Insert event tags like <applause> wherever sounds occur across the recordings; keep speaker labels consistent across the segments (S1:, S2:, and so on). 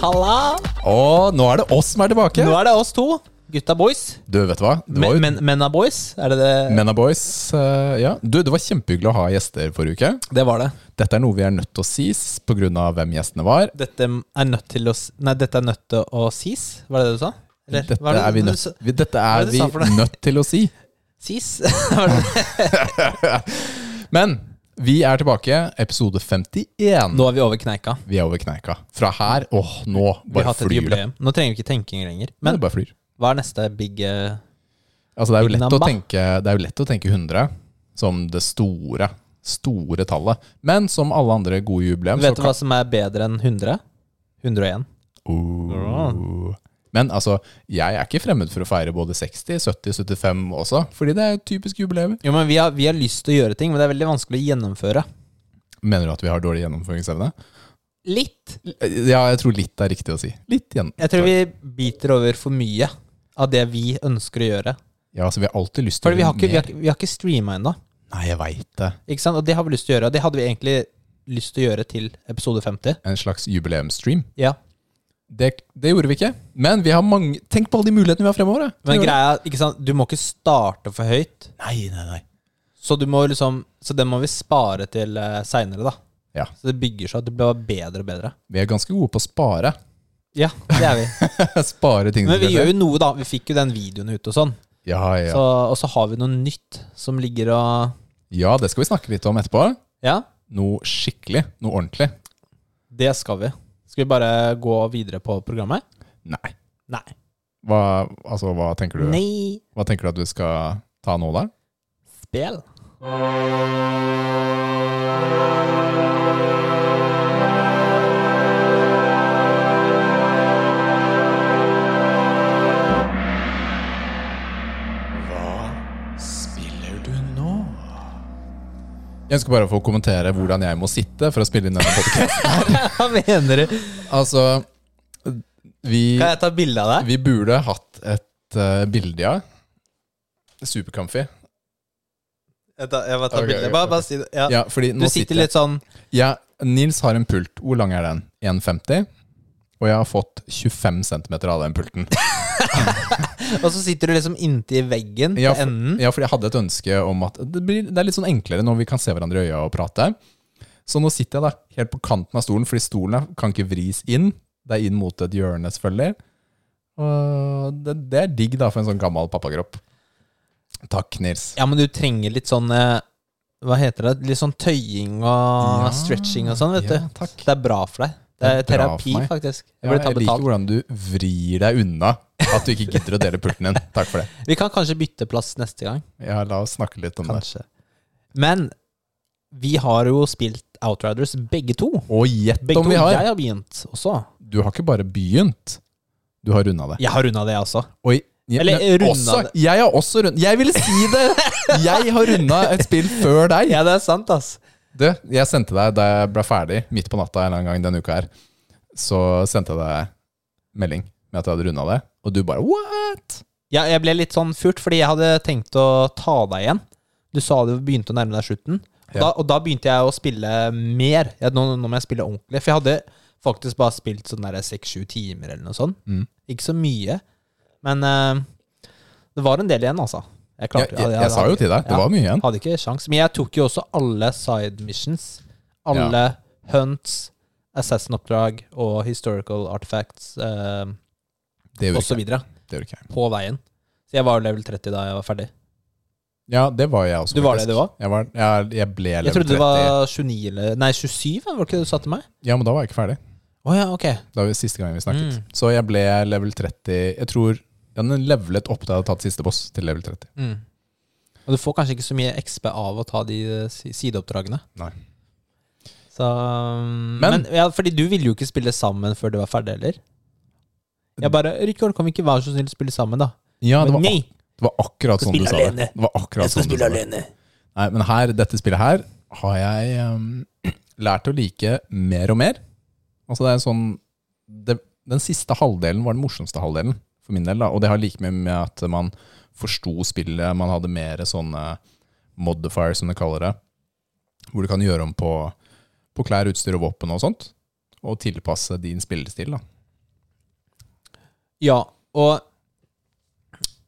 S1: Halla!
S2: Og nå er det oss som er tilbake.
S1: Nå er det oss to. Gutta boys.
S2: Du, vet du hva? Det var
S1: Men,
S2: jo
S1: men, menna boys. Er det det?
S2: Menna Boys. eh, ja. Du, det var kjempehyggelig å ha gjester forrige uke.
S1: Det var det.
S2: Dette er noe vi er nødt til å sies pga. hvem gjestene var.
S1: Dette er nødt til å s- Nei, dette er nødt til å sies. Var det det du sa? Eller,
S2: Dette
S1: hva det-
S2: er vi
S1: du
S2: nødt,
S1: sa?
S2: vi, dette
S1: hva er
S2: er
S1: det du
S2: vi
S1: sa for noe?
S2: nødt til å si.
S1: Sis? <laughs> Var det-
S2: Men vi er tilbake. Episode 51.
S1: Nå er vi over kneika.
S2: Vi er over kneika. Fra her Åh, nå
S1: Vi har
S2: bare
S1: hatt et
S2: flyr det.
S1: jubileum. Nå trenger vi ikke tenking lenger.
S2: Men
S1: Men
S2: det bare flyr.
S1: hva er neste big eh,
S2: Altså, det, er jo
S1: Big
S2: lett å
S1: number.
S2: tenke, det er jo lett å tenke 100 som det store, store tallet. Men som alle andre gode jubileum
S1: Vet du hva som er bedre enn 100? 101.
S2: Oh. Men altså, jeg er ikke fremmed for å feire både 60, 70, 75 også, fordi det er typisk jubileum.
S1: Jo, men vi har, vi har lyst til å gjøre ting, men det er veldig vanskelig å gjennomføre.
S2: Mener du at vi har dårlig gjennomføringsevne?
S1: Litt.
S2: Ja, jeg tror litt er riktig å si. Litt igjen.
S1: Jeg tror vi biter over for mye av det vi ønsker å gjøre.
S2: Ja, altså, vi har alltid lyst til
S1: Fordi vi har ikke, vi
S2: mer.
S1: har, ikke- vi har ikke streama ennå.
S2: Nei, jeg veit det.
S1: Ikke sant? Og det har vi lyst til å gjøre. Og det hadde vi egentlig lyst til å gjøre til episode 50.
S2: En slags jubileumsstream.
S1: Ja.
S2: Det, det gjorde vi ikke. Men vi har mange Tenk på alle de mulighetene vi har fremover. da.
S1: Men
S2: Til å gjøre
S1: greia, ikke sant? du må ikke starte for høyt.
S2: det. Nei, nei, nei.
S1: Så, du må liksom, så den må vi spare til uh, seinere, da.
S2: Ja.
S1: Så det bygger seg. Det blir bare bedre og bedre.
S2: Vi er ganske gode på å spare. <laughs>
S1: Ja, det er vi.
S2: spare ting
S1: <laughs> Men vi
S2: skal
S1: gjør
S2: skje.
S1: jo noe, da. Vi fikk jo den videoen ut og sånn.
S2: Ja,
S1: Så,
S2: ja.
S1: og så har vi noe nytt som ligger og
S2: ja, det skal vi snakke litt om etterpå.
S1: Ja,
S2: Noe skikkelig. Noe ordentlig.
S1: det skal vi. Skal vi bare gå videre på programmet?
S2: Nei.
S1: Nei.
S2: Hva, altså, hva, tenker du,
S1: Nei.
S2: hva tenker du at du skal ta nå, da?
S1: Spel.
S2: Hva spiller du nå? Jeg ønsker bare å få kommentere hvordan jeg må sitte for å spille inn denne
S1: <laughs>
S2: podcasten.
S1: <laughs> Hva mener du?
S2: altså, vi,
S1: Kan jeg ta bilde av deg?
S2: vi burde hatt et eh, bilde, ja. Supercomfy.
S1: Jeg, tar, jeg bare tar
S2: Ok,
S1: bilde.
S2: ok,
S1: Bare,
S2: ok.
S1: bare si det. Ja.
S2: Ja, fordi
S1: Du
S2: nå
S1: sitter litt sånn
S2: Ja, Nils har en pult. Hvor lang er den? 1,50? Og jeg har fått 25 cm av den pulten.
S1: Og så sitter du liksom inntil veggen
S2: Ja,
S1: på
S2: for,
S1: enden.
S2: ja, for jeg hadde et ønske om at det, blir, det er litt sånn enklere når vi kan se hverandre i øya og prate. Så nå sitter jeg da helt på kanten av stolen, fordi stolen er- kan ikke vris inn. Det er inn mot et hjørne, selvfølgelig. Og det, det er digg da for en sånn gammel pappakropp. Takk, Nils.
S1: Ja, men du trenger litt sånn eh, Hva heter det? Litt sånn tøying og
S2: Ja.
S1: stretching og sånn, vet
S2: Ja,
S1: du.
S2: takk.
S1: Det er bra for deg. Det er,
S2: Det er bra
S1: terapi,
S2: for meg.
S1: faktisk. Jeg
S2: Ja,
S1: burde ta
S2: jeg liker
S1: betalt.
S2: hvordan du vrir deg unna at du ikke gidder å dele pulten din. Takk for det.
S1: Vi kan kanskje bytte plass neste gang.
S2: Ja, la oss snakke litt om det.
S1: Kanskje. Men vi har jo spilt Outriders, begge to.
S2: Og gjett
S1: Begge
S2: om
S1: to.
S2: vi har!
S1: Jeg har begynt også.
S2: du har ikke bare begynt, du har runda det.
S1: Jeg har runda det, altså. jeg også.
S2: Oi, ja,
S1: Eller
S2: men
S1: runda
S2: også,
S1: det.
S2: Jeg har også runda Jeg ville si det! Jeg har runda et spill før deg.
S1: Ja, det er sant, ass.
S2: Du, jeg sendte deg da jeg ble ferdig, midt på natta en eller annen gang denne uka her, så sendte jeg deg melding med at jeg hadde runda det, og du bare what?
S1: Ja, jeg ble litt sånn furt, fordi jeg hadde tenkt å ta deg igjen. Du sa du begynte å nærme deg slutten. Og,
S2: Ja.
S1: da, og da begynte jeg å spille mer. Jeg, nå, nå må jeg spille ordentlig. For jeg hadde faktisk bare spilt sånn der seks-sju timer eller noe sånt.
S2: Mm.
S1: Ikke så mye. Men eh, det var en del igjen, altså. Jeg,
S2: Jeg,
S1: klarte,
S2: jeg, jeg sa jo til deg, det var mye igjen.
S1: Hadde ikke sjans. Men jeg tok jo også alle side missions. Alle hunts, assassin-oppdrag og historical artifacts eh,
S2: Det
S1: og
S2: gjorde
S1: så
S2: ikke jeg.
S1: videre
S2: Det gjorde ikke jeg.
S1: på veien. Så jeg var level 30 da jeg var ferdig.
S2: Ja, det var jeg også.
S1: Du var det, du òg?
S2: Jeg, var, jeg, jeg ble level
S1: Jeg trodde det
S2: 30.
S1: var 29 eller Nei, 27, var det ikke det du sa til meg?
S2: Ja, men da var jeg ikke ferdig.
S1: Å ja, ok.
S2: Det var jo siste gang vi snakket.
S1: Mm.
S2: Så jeg ble level 30 Jeg tror den levelet opp da jeg hadde tatt siste boss, til level 30.
S1: Mm. Og du får kanskje ikke så mye XP av å ta de eh, si- sideoppdragene.
S2: Nei.
S1: Så, um,
S2: Men-
S1: men, ja, fordi du ville jo ikke spille sammen før du var ferdig, eller? Jeg bare 'Rikard, kan vi ikke være så snill å spille sammen, da?'
S2: Ja, det
S1: Men
S2: var,
S1: nei!
S2: det var akkurat
S1: Skal
S2: sånn du
S1: spille
S2: sa det.
S1: alene.
S2: Det var akkurat sånn du sa det.
S1: alene.
S2: Nei, men her, dette spillet her har jeg ehm, <clears throat> lært å like mer og mer. Altså det er sånn det, Den siste halvdelen var den morsomste halvdelen for min del. da, Og det har like mye med at man forsto spillet, man hadde mer sånne modifier, som de kaller det. Hvor du kan gjøre om på, på klær, utstyr og våpen og sånnt. Og tilpasse din spillestil. da.
S1: Ja, og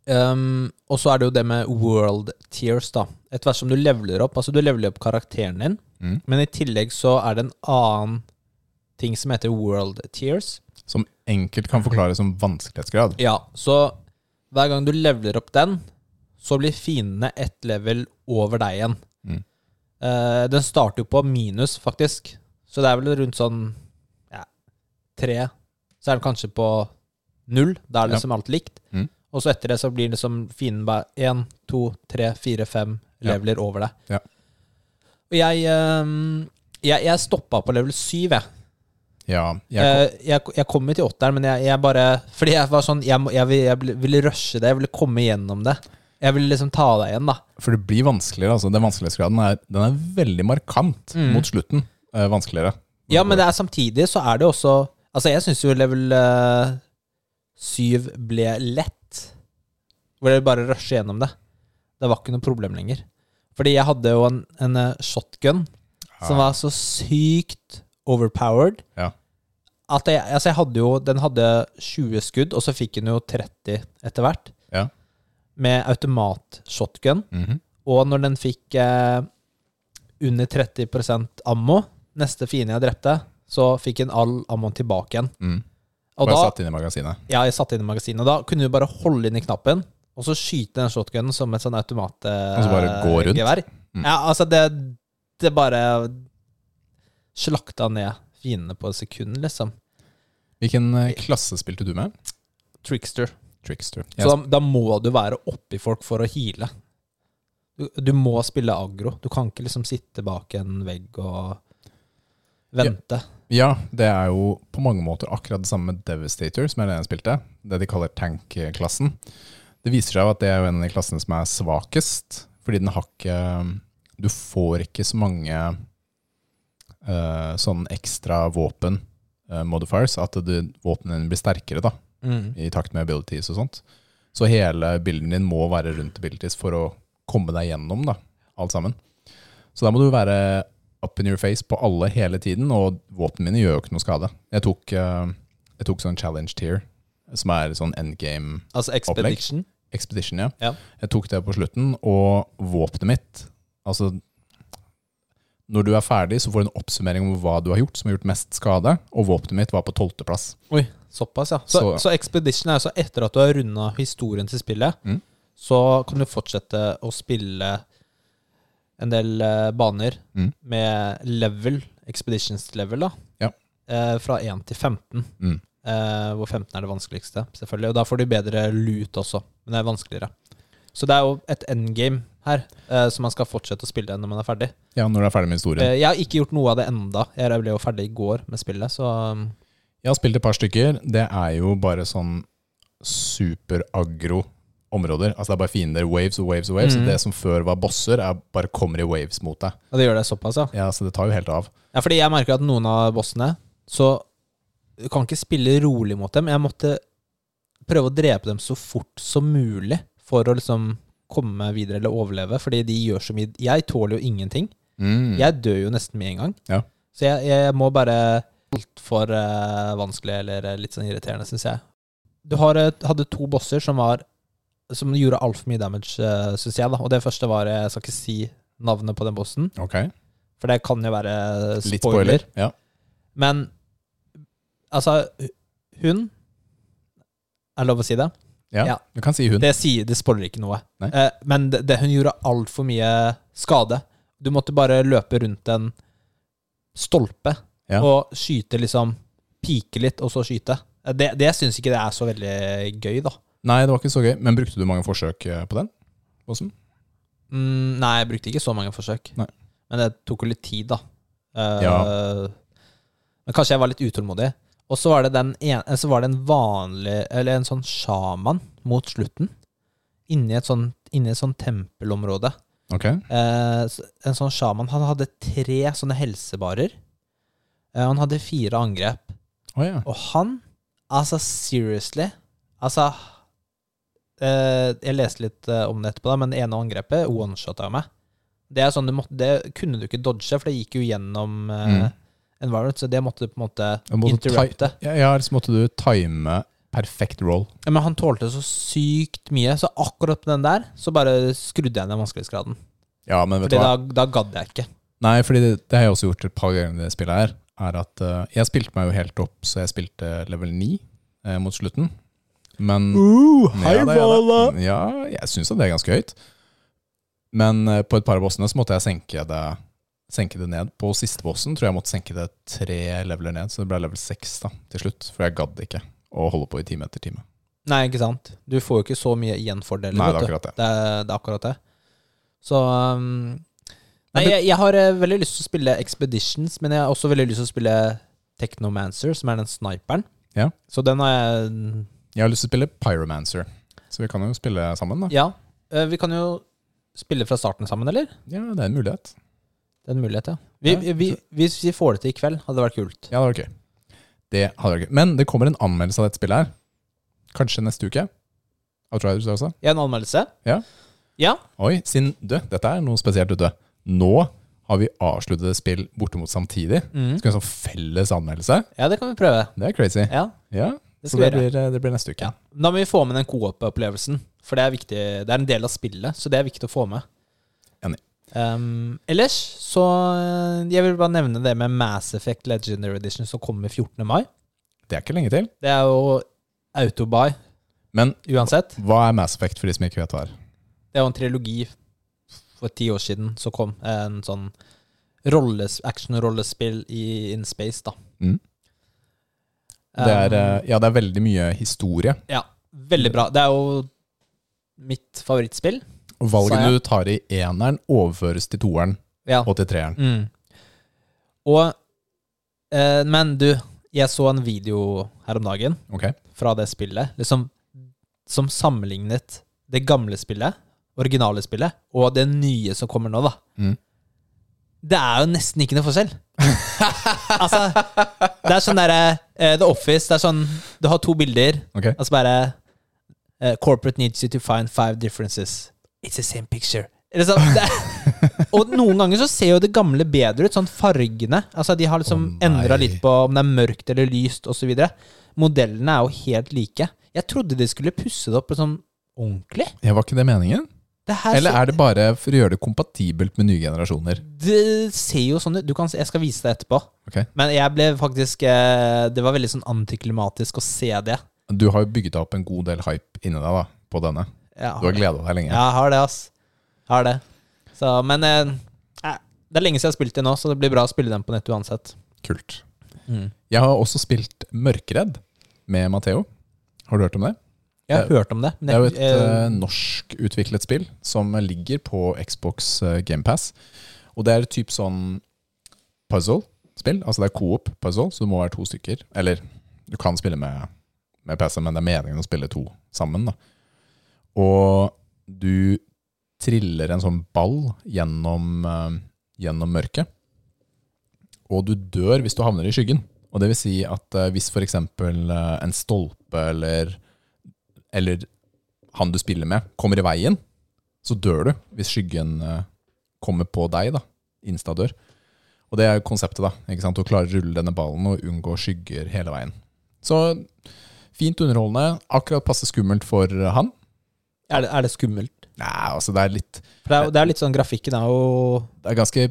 S1: ehm, Og så er det jo det med world tiers, da. Etter hvert som du leveler opp. Altså, du leveler opp karakteren din,
S2: Mm.
S1: men i tillegg så er det en annen ting som heter world tiers.
S2: Som enkelt kan forklares som vanskelighetsgrad.
S1: Ja, så hver gang du leveler opp den, så blir fiendene ett level over deg igjen.
S2: Mm.
S1: Eh, den starter jo på minus, faktisk. Så det er vel rundt sånn ja, tre. Så er den kanskje på null. Da er
S2: Ja.
S1: det liksom alt likt.
S2: Mm.
S1: Og så etter det så blir liksom fienden bare én, to, tre, fire, fem
S2: Ja.
S1: leveler over deg.
S2: Ja.
S1: Og jeg, eh, jeg, jeg stoppa på level syv, jeg.
S2: Ja, jeg,
S1: Eh, Jeg, jeg, jeg kom jo til åtteren, men jeg, jeg bare Fordi jeg var sånn Jeg, må- jeg, vil- jeg vil- ville rushe det, jeg ville komme gjennom det. Jeg ville liksom ta deg igjen, da.
S2: for det blir vanskeligere. Altså, den vanskelighetsgraden er, den er veldig markant
S1: Mm.
S2: mot slutten. eh, vanskeligere.
S1: Ja, men det er samtidig så er det også Altså, jeg syns jo level eh, syv ble lett. Hvor jeg bare rushe gjennom det. Det var ikke noe problem lenger. Fordi jeg hadde jo en, en eh, shotgun som var så sykt overpowered.
S2: Ja.
S1: At jeg, altså jeg hadde jo, den hadde 20 skudd, og så fikk den jo 30 etter hvert.
S2: Ja.
S1: Med automatshotgun.
S2: Mhm.
S1: Og når den fikk eh, under 30 ammo, neste fiende jeg drepte, så fikk den all ammoen tilbake igjen.
S2: Mm.
S1: Og
S2: Bare
S1: da,
S2: satt inn i magasinet.
S1: ja, jeg satte inn i magasinet, og da kunne du bare holde inn i knappen, og så skyte den shotgunen som et sånn automat eh,
S2: Og så bare gå rundt?
S1: gevær.
S2: Mm.
S1: Ja, altså det, det bare slakta ned fiendene på et sekund, liksom.
S2: Hvilken eh, klasse spilte du med?
S1: Trickster.
S2: Trickster.
S1: Så da, da må du være oppi folk for å heale. Du, du må spille aggro. Du kan ikke liksom sitte bak en vegg og vente.
S2: Ja, det er jo på mange måter akkurat det samme med Devastator, som er det jeg spilte. Det de kaller tank-klassen. Det viser seg jo at det er jo en av de klassene som er svakest, fordi den har ikke Du får ikke så mange eh, sånn ekstra våpen, eh, modifiers, at du- våpnene dine blir sterkere, da
S1: Mm.
S2: i takt med abilities og sånt. Så hele bilden din må være rundt abilities for å komme deg gjennom da, alt sammen. Så da må du være up in your face på alle hele tiden, og våpnene mine gjør jo ikke noe skade. Jeg tok, eh, jeg tok sånn challenge tier, som er sånn endgame
S1: Altså expedition.
S2: expedition, ja.
S1: Ja.
S2: Jeg tok det på slutten, og våpenet mitt, altså når du er ferdig, så får du en oppsummering om hva du har gjort, som har gjort mest skade, og våpenet mitt var på 12. plass.
S1: Oi, såpass, ja. Så,
S2: Så-
S1: så, Expedition er altså etter at du har runda historien til spillet,
S2: Mm.
S1: så kan du fortsette å spille en del eh, baner
S2: Mm.
S1: med level, Expeditions level, da.
S2: Ja.
S1: Eh, fra 1 til 15,
S2: Mm.
S1: eh, hvor 15 er det vanskeligste, selvfølgelig. Og da får du bedre lut også, men det er vanskeligere. Så det er jo et endgame her, eh, som man skal fortsette å spille når man er ferdig.
S2: Ja, når du er ferdig med historien.
S1: Eh, jeg har ikke gjort noe av det enda. Jeg ble jo ferdig i går med spillet, så um,
S2: Jeg har spilt et par stykker. Det er jo bare sånn super-aggro områder. Altså Det er bare fiender. Waves og waves og waves.
S1: Mhm.
S2: Det som før var bosser, er bare kommer i waves mot deg.
S1: ja, det gjør det såpass, ja.
S2: Ja, Så det tar jo helt av.
S1: Ja, fordi jeg merker at noen av bossene Så du kan ikke spille rolig mot dem. Jeg måtte prøve å drepe dem så fort som mulig for å liksom komme meg videre eller overleve, fordi de gjør så mye Jeg tåler jo ingenting. Jeg dør jo nesten med en gang.
S2: Mm. Ja.
S1: Så jeg, jeg må bare Altfor uh, vanskelig eller eh, litt sånn irriterende, syns jeg. Du har, eh, hadde to bosser som var Som gjorde altfor mye damage, uh, syns jeg. da Og det første var eh, Jeg skal ikke si navnet på den bossen,
S2: Ok,
S1: for det kan jo være eh,
S2: Litt
S1: spoiler.
S2: spoiler. Ja.
S1: Men altså, hun Er det lov å si det?
S2: Ja.
S1: Ja.
S2: Du kan si hun.
S1: Det, sier, det spoiler ikke noe.
S2: Nei.
S1: Eh, men det, det, hun gjorde altfor mye skade. Du måtte bare løpe rundt en stolpe
S2: Ja.
S1: og skyte, liksom Pike litt, og så skyte. Eh, Det, det syns ikke det er så veldig gøy, da.
S2: Nei, det var ikke så gøy. Men brukte du mange forsøk eh, på den? Bossen?
S1: Mm, nei, jeg brukte ikke så mange forsøk.
S2: Nei.
S1: Men det tok jo litt tid, da. Eh,
S2: Ja.
S1: Men kanskje jeg var litt utålmodig. Og så var det den en, eh, så var det en vanlig Eller en sånn sjaman mot slutten. Inni et sånn, inni et sånn tempelområde.
S2: Ok.
S1: Eh, s- en sånn sjaman Han hadde tre sånne helsebarer. Eh, han hadde fire angrep.
S2: Å ja.
S1: Og han Altså, seriously Altså eh, Jeg leste litt eh, om det etterpå, da, men det ene angrepet one-shotta meg. Det er sånn du måtte, det kunne du ikke dodge, for det gikk jo gjennom eh,
S2: Mm.
S1: environment, så det måtte du på en måte
S2: Jeg måtte
S1: interrupte.
S2: Jeg, jeg har- så måtte du time perfekt roll.
S1: Ja, men han tålte så sykt mye, så akkurat på den der så bare skrudde jeg ned vanskelighetsgraden.
S2: Ja, men vet
S1: Fordi
S2: du hva?
S1: da, da gadd jeg ikke.
S2: Nei, fordi det, det har jeg også gjort et par ganger i det spillet her, er at eh, jeg spilte meg jo helt opp, så jeg spilte level 9 eh, mot slutten. Men
S1: Uh,
S2: Ja, det er det. Ja, jeg syns det er ganske høyt. Men eh, på et par av bossene så måtte jeg senke det, senke det ned. På siste bossen tror jeg jeg måtte senke det tre leveler ned, så det ble level seks da, til slutt. For jeg gadd ikke å holde på i time etter time.
S1: Nei, ikke sant. Du får jo ikke så mye igjenfordeler.
S2: Nei, det
S1: vet
S2: er
S1: du.
S2: akkurat det.
S1: Det er, det er akkurat det. Så um, Nei,
S2: det-
S1: jeg, jeg har eh, veldig lyst til å spille Expeditions, men jeg har også veldig lyst til å spille Technomancer, som er den sniperen.
S2: Ja.
S1: Så den har jeg
S2: Jeg har lyst til å spille Pyromancer, så vi kan jo spille sammen, da.
S1: Ja. Eh, Vi kan jo spille fra starten sammen, eller?
S2: Ja, det er en mulighet.
S1: Det er en mulighet, ja. Vi,
S2: Ja,
S1: vi, hvis vi får det til i kveld, hadde det vært kult.
S2: Ja, det var gøy. Det hadde vært gøy. Men det kommer en anmeldelse av dette spillet her. Kanskje neste uke. Outriders også.
S1: Jeg har en anmeldelse.
S2: Oi, siden du, dette er noe spesielt ute. Nå har vi avsluttede spill bortimot samtidig.
S1: Mhm.
S2: Skal vi ha en sånn felles anmeldelse?
S1: Ja, det kan vi prøve.
S2: Det er crazy.
S1: Ja,
S2: Ja,
S1: det
S2: Så
S1: skal vi
S2: det
S1: gjøre.
S2: blir, det blir neste uke.
S1: Ja. Da må vi få med den co-op-opplevelsen, for det er viktig. Det er en del av spillet, så det er viktig å få med.
S2: Enig.
S1: Um, ellers så eh, Jeg vil bare nevne det med Mass Effect Legendary Edition som kommer 14. mai.
S2: Det er ikke lenge til.
S1: Det er jo autobuy
S2: Men
S1: uansett.
S2: hva er Mass Effect for de som ikke vet hva det er?
S1: Det er jo en trilogi for ti år siden så kom en sånn rolles, action-rollespill i In Space, da.
S2: Mm. Det er,
S1: Um,
S2: eh, ja, det er veldig mye historie.
S1: Ja, veldig bra. Det er jo mitt favorittspill.
S2: Og
S1: Sa jeg.
S2: Valgene du tar i eneren, overføres til toeren
S1: Ja.
S2: og til treeren.
S1: Mm. Og eh, Men du, jeg så en video her om dagen
S2: Ok?
S1: fra det spillet liksom, som sammenlignet det gamle spillet, originale spillet, og det nye som kommer nå, da.
S2: Mm.
S1: Det er jo nesten ikke noe forskjell. altså, det er sånn derre eh, The Office, det er sånn Du har to bilder,
S2: Ok.
S1: Altså bare eh, Corporate needs you to find five differences. It's the same picture. Eller sånn, det, og noen ganger så ser jo det gamle bedre ut, sånn fargene. Altså De har liksom
S2: Å, nei.
S1: endra litt på om det er mørkt eller lyst osv. Modellene er jo helt like. Jeg trodde de skulle pusse det opp sånn ordentlig.
S2: Ja, var ikke det meningen?
S1: Det her
S2: Eller
S1: så,
S2: er det bare for å gjøre det kompatibelt med nye generasjoner?
S1: det ser jo sånn ut. Du kan, se- jeg skal vise deg etterpå.
S2: Ok.
S1: Men jeg ble faktisk eh, Det var veldig sånn antiklimatisk å se det.
S2: Du har jo bygget deg opp en god del hype inni deg da, på denne.
S1: Jeg
S2: Du har gleda deg lenge.
S1: Ja, jeg har det, ass. Jeg Har det. Så, men eh, eh, det er lenge siden jeg har spilt det nå, så det blir bra å spille den på nett uansett.
S2: Kult.
S1: Mm.
S2: Jeg har også spilt Mørkredd med Matheo. Har du hørt om det?
S1: Jeg har
S2: Det-
S1: hørt om det. men
S2: Det er jo
S1: jeg-
S2: et
S1: eh,
S2: eh, norskutviklet spill som ligger på Xbox eh, Game GamePass. Og det er et typ sånn puzzle-spill. Altså det er coop puzzle, så det må være to stykker. Eller du kan spille med, med PC, men det er meningen å spille to sammen. Da. Og du triller en sånn ball gjennom, eh, gjennom mørket. Og du dør hvis du havner i skyggen. Og det vil si at eh, hvis f.eks. Uh, en stolpe eller eller han du spiller med, kommer i veien, så dør du hvis skyggen eh, kommer på deg. da, Insta-dør. Og det er konseptet, da. ikke sant, Å klare å rulle denne ballen og unngå skygger hele veien. Så fint underholdende. Akkurat passe skummelt for eh, han.
S1: er, det, er det skummelt?
S2: Nei, altså det er litt
S1: For det er, jo- det er litt sånn grafikken er jo
S2: Det er ganske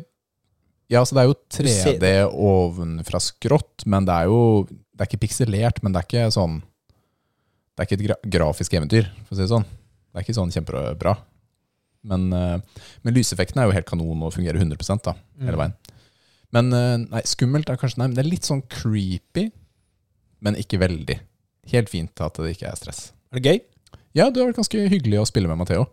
S2: Ja, altså det er jo
S1: ser
S2: 3D ovenfra skrått, men det er jo Det er ikke pikselert, men det er ikke sånn Det er ikke et gra grafisk eventyr, for å si det sånn. Det er ikke sånn kjempebra. Men, eh, men lyseffekten er jo helt kanon og fungerer 100 da,
S1: Mm.
S2: hele veien. Men eh, nei, skummelt er kanskje Nei, men det er litt sånn creepy, men ikke veldig. Helt fint at det ikke er stress.
S1: Er det gøy?
S2: Ja, det har vært ganske hyggelig å spille med Matheo.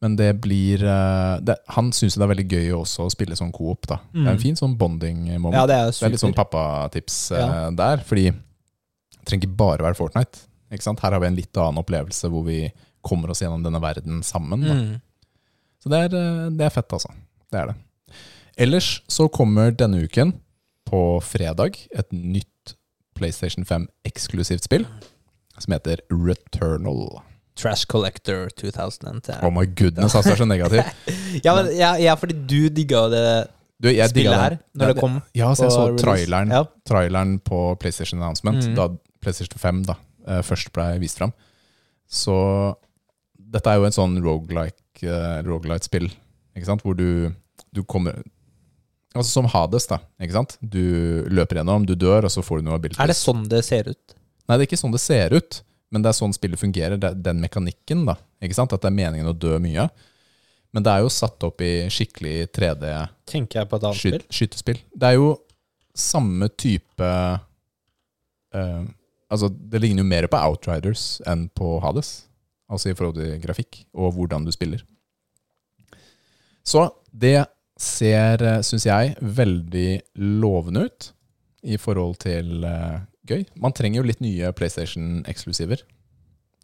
S2: Men det blir eh, det, Han syns det er veldig gøy også å spille sånn coop, da. Det er
S1: Mm.
S2: en fin sånn bonding moment.
S1: Ja, det er
S2: det er
S1: super.
S2: litt sånn pappatips eh,
S1: Ja.
S2: der, fordi det trenger ikke bare være Fortnite. Ikke sant? Her har vi en litt annen opplevelse hvor vi kommer oss gjennom denne verden sammen. Da.
S1: mm.
S2: Så det er, eh, det er fett, altså. Det er det. Ellers så kommer denne uken, på fredag, et nytt PlayStation 5 eksklusivt spill som heter Returnal.
S1: Trash Collector 2010.
S2: Oh my goodness, altså, det er så negativt.
S1: ja, men, ja, ja, fordi du digga jo det
S2: Du, jeg
S1: spillet
S2: digga
S1: her
S2: den.
S1: når
S2: Ja,
S1: det kom.
S2: Ja, så
S1: på
S2: jeg så
S1: release.
S2: traileren,
S1: Ja.
S2: traileren på PlayStation Announcement,
S1: Mhm.
S2: da PlayStation 5, da, eh, først blei vist fram. Så dette er jo en sånn roguelike, eh, roguelite-spill, ikke sant? Hvor du, du kommer Altså som Hades, da. ikke sant? Du løper gjennom, du dør, og så får du noe abilities.
S1: Er det sånn det ser ut?
S2: Nei, det er ikke sånn det ser ut, men det er sånn spillet fungerer. Det er den mekanikken, da. Ikke sant? At det er meningen å dø mye. Men det er jo satt opp i skikkelig 3D
S1: Tenker jeg på et annet
S2: sky
S1: spill?
S2: skytespill. Det er jo samme type eh, Altså, det ligner jo mer på Outriders enn på Hades. Altså i forhold til grafikk og hvordan du spiller. Så det ser, syns jeg, veldig lovende ut i forhold til eh, gøy. Man trenger jo litt nye PlayStation-eksklusiver.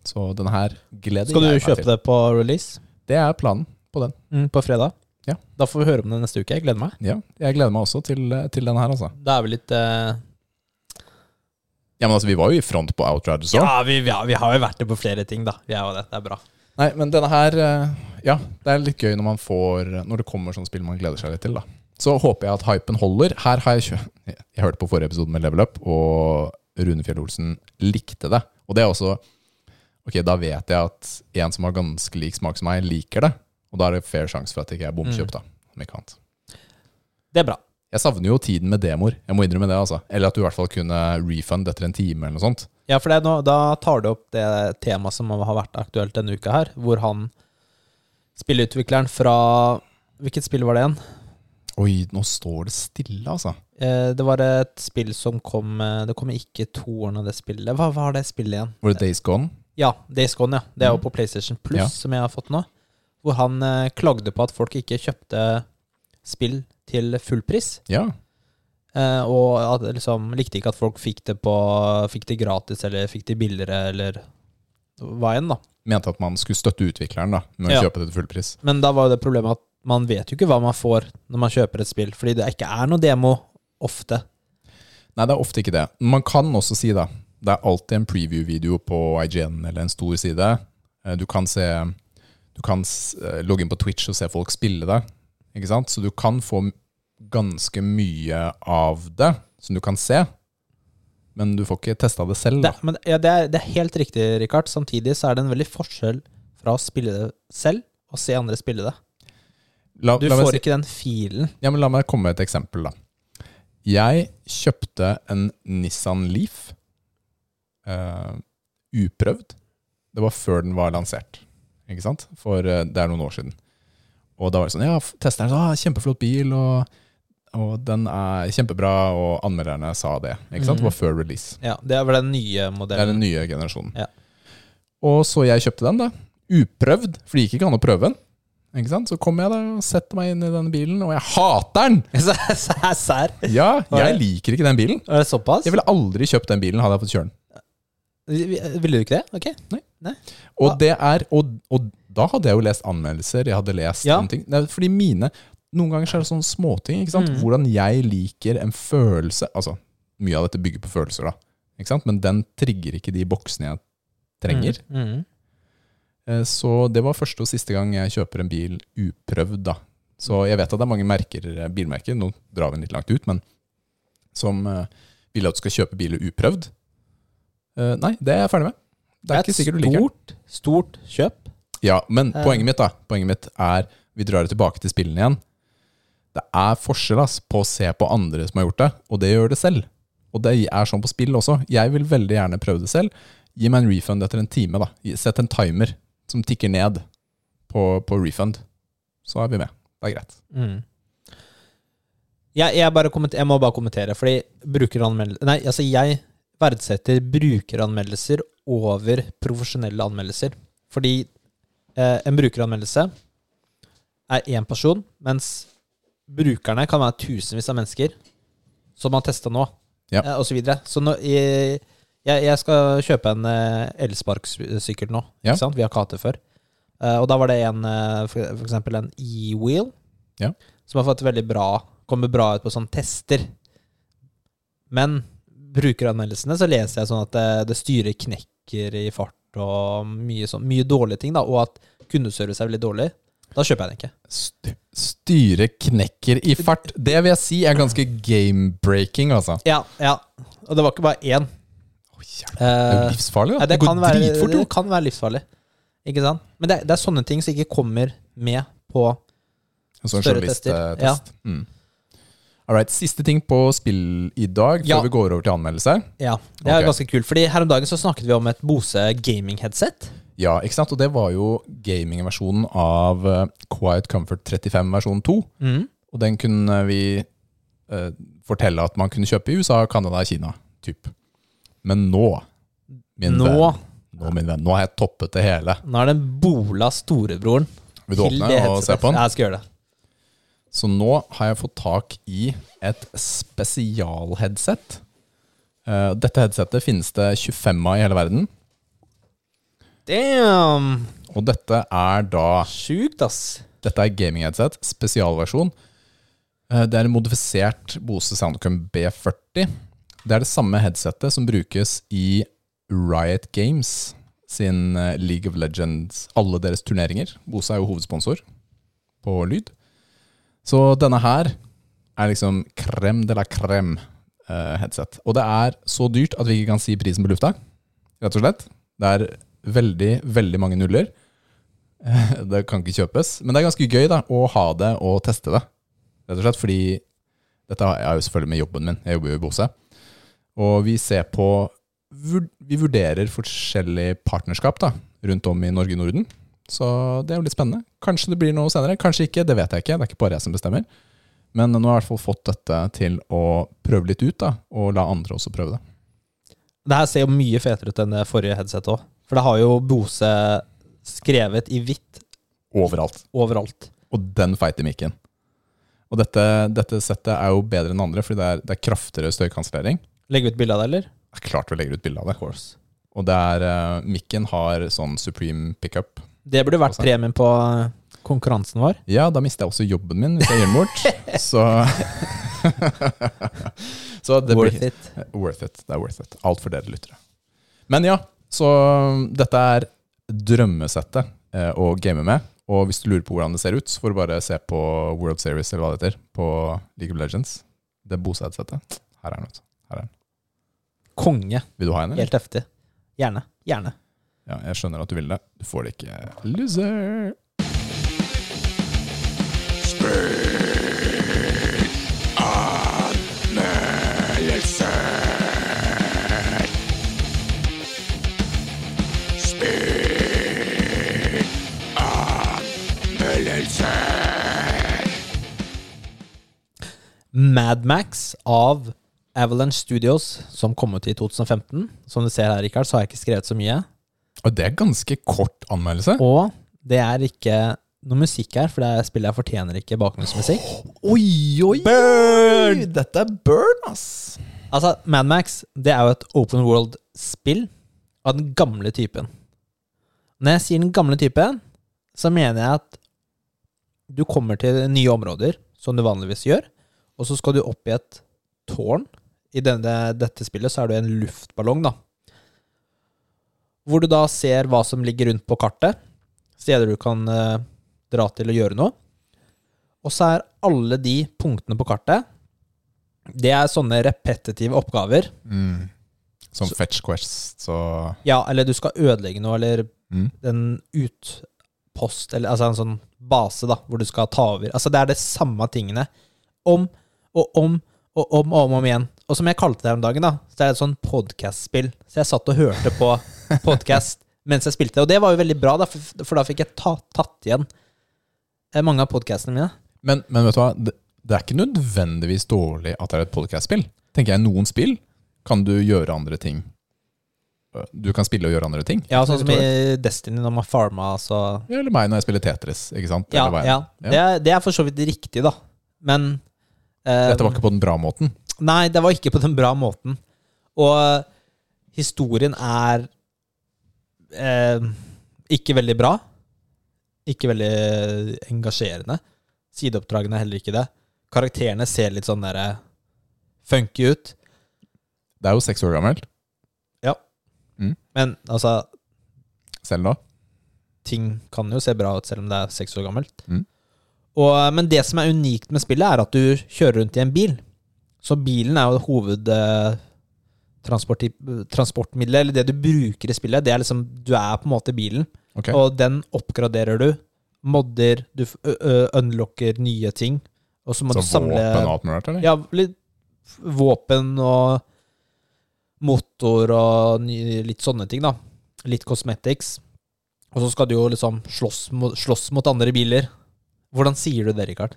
S2: Så den her gleder
S1: Skal du
S2: jeg meg
S1: kjøpe
S2: til.
S1: det på release?
S2: Det er planen på den.
S1: Mm, på fredag?
S2: Ja.
S1: Da får vi høre om det neste uke. Jeg gleder meg.
S2: Ja, jeg gleder meg også til, til den her, altså.
S1: Da er vi litt eh,
S2: Ja, men altså, vi var jo i front på Outriders òg.
S1: Ja, vi, vi, har, vi har jo vært det på flere ting, da. Vi er jo det. Det er bra.
S2: Nei, men denne her eh, Ja, det er litt gøy når man får Når det kommer sånne spill man gleder seg litt til, da. Så håper jeg at hypen holder. Her har jeg kjø... Jeg hørte på forrige episode med Level Up, og Rune Fjell Olsen likte det. Og det er også Ok, da vet jeg at en som har ganske lik smak som meg, liker det. Og da er det fair sjanse for at ikke jeg er bomkjøpt, da. Om ikke annet.
S1: Det er bra.
S2: Jeg savner jo tiden med demoer. Jeg må innrømme det, altså. Eller at du i hvert fall kunne refund etter en time, eller noe sånt.
S1: Ja, for det er nå, da tar du opp det temaet som har vært aktuelt denne uka her, hvor han spillutvikleren fra Hvilket spill var det igjen?
S2: Oi, nå står det stille, altså.
S1: Eh, det var et spill som kom eh, Det kom ikke to år av det spillet. Hva var det spillet igjen?
S2: Var det Days Gone?
S1: Ja, Days Gone, ja. Det er jo
S2: Mm.
S1: på PlayStation Plus
S2: Ja.
S1: som jeg har fått nå. Hvor han eh, klagde på at folk ikke kjøpte spill til full pris.
S2: Ja.
S1: Eh, og at, liksom, likte ikke at folk fikk det, på, fikk det gratis eller fikk det billigere eller hva enn. da.
S2: mente at man skulle støtte utvikleren da med å
S1: Ja.
S2: kjøpe det til full pris.
S1: Men da var jo det problemet at man vet jo ikke hva man får når man kjøper et spill, fordi det ikke er noe demo ofte.
S2: Nei, det er ofte ikke det. Men Man kan også si da det er alltid en preview-video på IGN eller en stor side. Eh, Du kan se Du kan s- eh, logge inn på Twitch og se folk spille det. Ikke sant? Så du kan få m- ganske mye av det som du kan se, men du får ikke testa det selv.
S1: Det,
S2: da
S1: men, ja, det, er, det er helt riktig, Richard. Samtidig så er det en veldig forskjell fra å spille det selv og se andre spille det.
S2: La,
S1: Du
S2: la meg
S1: får
S2: si-
S1: ikke den filen.
S2: Ja, men La meg komme med et eksempel. da. Jeg kjøpte en Nissan Leaf eh, uprøvd. Det var før den var lansert, ikke sant? for eh, det er noen år siden. Og da var det sånn, ja, f- tester den, ah, kjempeflott bil, og, og den er kjempebra, og anmelderne sa det. ikke sant? Det var før release.
S1: Ja, Det er vel den nye
S2: Det er
S1: modellen.
S2: den nye generasjonen.
S1: Ja.
S2: Og så jeg kjøpte den, da. Uprøvd, for det gikk ikke an å prøve den. Ikke sant? Så kom jeg da og setter meg inn i denne bilen, og jeg hater den!
S1: <laughs> Så- så er Sær.
S2: Ja,
S1: Hva er det?
S2: jeg liker ikke den bilen.
S1: Er det såpass?
S2: Jeg ville aldri kjøpt den bilen hadde jeg fått kjøre den.
S1: Ville du ikke det? Ok.
S2: Og,
S1: Hva?
S2: det er, og, og da hadde jeg jo lest anmeldelser, jeg hadde lest
S1: Ja.
S2: noen ting. Nei, fordi mine Noen ganger så er det sånne småting. Ikke sant?
S1: Mm.
S2: Hvordan jeg liker en følelse Altså, mye av dette bygger på følelser, da. Ikke sant? Men den trigger ikke de boksene jeg trenger.
S1: Mm. Mm.
S2: Eh, Så det var første og siste gang jeg kjøper en bil uprøvd, da. Så jeg vet at det er mange merker, eh, bilmerker, nå drar vi den litt langt ut, men som eh, vil at du skal kjøpe biler uprøvd. Eh, Nei, det er jeg ferdig med. Det er
S1: et
S2: ikke sikkert du liker den.
S1: Stort, stort kjøp.
S2: Ja, men
S1: Eh.
S2: poenget mitt da Poenget mitt er Vi drar det tilbake til spillene igjen Det er forskjell ass, på å se på andre som har gjort det Og det gjør det selv Og det er sånn på spill også Jeg vil veldig gjerne prøve det selv Gi meg en refund etter en time da Gi- Sett en timer som tikker ned På, på refund Så er vi med Det er greit
S1: Mm. Jeg, jeg, bare kommenter- jeg må bare kommentere, fordi brukeranmeldelser Nei, altså jeg verdsetter brukeranmeldelser over profesjonelle anmeldelser. Fordi eh, en brukeranmeldelse er én person, mens brukerne kan være tusenvis av mennesker som har testa nå,
S2: Ja.
S1: eh, og så videre. Så nå, jeg, jeg, jeg skal kjøpe en eh, elsparkesykkel nå.
S2: Ja.
S1: Ikke sant? Vi har ikke hatt det før. Eh, og da var det en, eh, for, for eksempel en e-wheel,
S2: Ja.
S1: som har fått veldig bra, kommer bra ut på sånne tester. Men brukeranmeldelsene så leser jeg sånn at det, det styrer knekker i fart og mye, sånn, mye dårlige ting, da, og at kundeservice er veldig dårlig. Da kjøper jeg den ikke.
S2: St- Styre knekker i fart Det vil jeg si er ganske game breaking altså
S1: Ja, ja. Og det var ikke bare én.
S2: Det er jo
S1: Eh,
S2: livsfarlig, da.
S1: ja, det,
S2: går
S1: kan være,
S2: dritfort.
S1: det
S2: jo.
S1: kan være livsfarlig. Ikke sant? Men det, det er sånne ting som ikke kommer med på
S2: En sånn
S1: større tester,
S2: journalisttest. Mm. All right, siste ting på spill i dag, før
S1: Ja.
S2: vi går over til anmeldelse.
S1: Ja, det er
S2: Ok.
S1: ganske kult. Fordi her om dagen så snakket vi om et Bose gaming-headset.
S2: Ja, ikke sant? Og det var jo gamingversjonen av eh, Quiet Comfort 35 versjon 2.
S1: Mm.
S2: Og den kunne vi eh, fortelle at man kunne kjøpe i USA, Canada, Kina. Typ. Men nå, min
S1: Nå,
S2: venn, nå, min venn, nå har jeg toppet det hele.
S1: nå er den bola storebroren
S2: Vil du åpne og se på den?
S1: Ja, jeg skal gjøre det.
S2: Så nå har jeg fått tak i et spesialheadset. Eh, Dette headsetet finnes det 25 av i hele verden.
S1: Damn!
S2: Og dette er da
S1: Sjukt, ass.
S2: Dette er gaming-headset, spesialversjon. Eh, Det er en modifisert Bose Soundcom B40. Det er det samme headsetet som brukes i Riot Games sin eh, League of Legends, alle deres turneringer. Bose er jo hovedsponsor på lyd. Så denne her er liksom crème de la crème eh, headset. Og det er så dyrt at vi ikke kan si prisen på lufta, rett og slett. Det er veldig, veldig mange nuller. <laughs> Det kan ikke kjøpes. Men det er ganske gøy da, å ha det og teste det. Rett og slett fordi dette har jeg jo selvfølgelig med jobben min. Jeg jobber jo i Bose. Og vi ser på vur- Vi vurderer forskjellige partnerskap da, rundt om i Norge og Norden. Så det er jo litt spennende. Kanskje det blir noe senere, kanskje ikke. Det vet jeg ikke. Det er ikke bare jeg som bestemmer. Men nå har jeg i hvert fall fått dette til å prøve litt ut, da, og la andre også prøve det.
S1: Det her ser jo mye fetere ut enn det forrige headsetet òg. For det har jo Bose skrevet i hvitt
S2: Overalt.
S1: overalt.
S2: Og den feite mikken. Og dette, dette settet er jo bedre enn andre, fordi det er, det er kraftigere støykansellering.
S1: Legger vi ut bilde av det, eller?
S2: Det er klart vi legger ut bilde av det. Og det er, eh, mikken har sånn supreme pickup.
S1: Det burde vært premien på eh, konkurransen vår.
S2: Ja, da mister jeg også jobben min hvis jeg gir den bort. Så, <laughs> så det
S1: Worth
S2: blir
S1: it.
S2: Eh, worth it. Det er worth it. Alt for dere lyttere. Men ja, så um, dette er drømmesettet eh, å game med. Og hvis du lurer på hvordan det ser ut, så får du bare se på World Series eller hva det heter, på League of Legends. Det er Bose-headsetet. Her er den. vet du.
S1: Konge.
S2: Vil du ha en? eller?
S1: Helt heftig. Gjerne. Gjerne.
S2: Ja, jeg skjønner at du vil det. Du får det ikke. Loser!
S1: Madmax av Avalanche Studios, som kom ut i 2015. Som du ser her, Rikard, så har jeg ikke skrevet så mye.
S2: Og det er ganske kort anmeldelse.
S1: Og det er ikke noe musikk her, for det er spillet jeg fortjener ikke bakgrunnsmusikk.
S2: Oi, oi, burn! Dette er burn, ass.
S1: Altså, Madmax det er jo et open world-spill av den gamle typen. Når jeg sier den gamle typen, så mener jeg at du kommer til nye områder, som du vanligvis gjør, og så skal du opp i et tårn. I denne, dette spillet så er du i en luftballong, da. Hvor du da ser hva som ligger rundt på kartet. Steder du kan eh, dra til og gjøre noe. Og så er alle de punktene på kartet det er sånne repetitive oppgaver.
S2: Som fetch quest, så
S1: Ja, eller du skal ødelegge noe, eller
S2: Mm.
S1: en utpost, eller altså en sånn base, da, hvor du skal ta over. Altså, det er det samme tingene om og om og om og om, og om igjen. Og som jeg kalte det her om dagen, da, så er det et sånn podcast-spill. Så jeg satt og hørte på podcast mens jeg spilte, og det var jo veldig bra, da, for, for da fikk jeg ta, tatt igjen eh, mange av podcastene mine.
S2: Men, men vet du hva, det, det er ikke nødvendigvis dårlig at det er et podcast-spill. Tenker jeg, noen spill kan du gjøre andre ting. Øh, Du kan spille og gjøre andre ting.
S1: Ja, sånn som i Destiny, når man farma, så
S2: Ja, Eller meg når jeg spiller Tetris, ikke sant?
S1: Ja,
S2: Eller hva jeg-
S1: ja. Det, er, det er for så vidt riktig, da. Men eh,
S2: Dette var ikke på den bra måten.
S1: Nei, det var ikke på den bra måten. Og historien er eh, ikke veldig bra. Ikke veldig engasjerende. Sideoppdragene er heller ikke det. Karakterene ser litt sånn derre funky ut.
S2: Det er jo seks år gammelt,
S1: Men altså,
S2: selv nå.
S1: ting kan jo se bra ut selv om det er seks år gammelt.
S2: Mm.
S1: Og, eh, men det som er unikt med spillet, er at du kjører rundt i en bil. Så bilen er jo hovedtingen transport, eh, transportmiddelet, eller det du bruker i spillet, det er liksom Du er på en måte bilen,
S2: Ok.
S1: og den oppgraderer du. Modder, du f- ø- ø- unlocker nye ting, og så må
S2: Så
S1: du samle
S2: våpen og alt mulig rart, eller?
S1: ja, litt våpen og motor og ny- litt sånne ting, da. Litt cosmetics. Og så skal du jo liksom slåss mot, slåss mot andre biler. Hvordan sier du det, Rikard?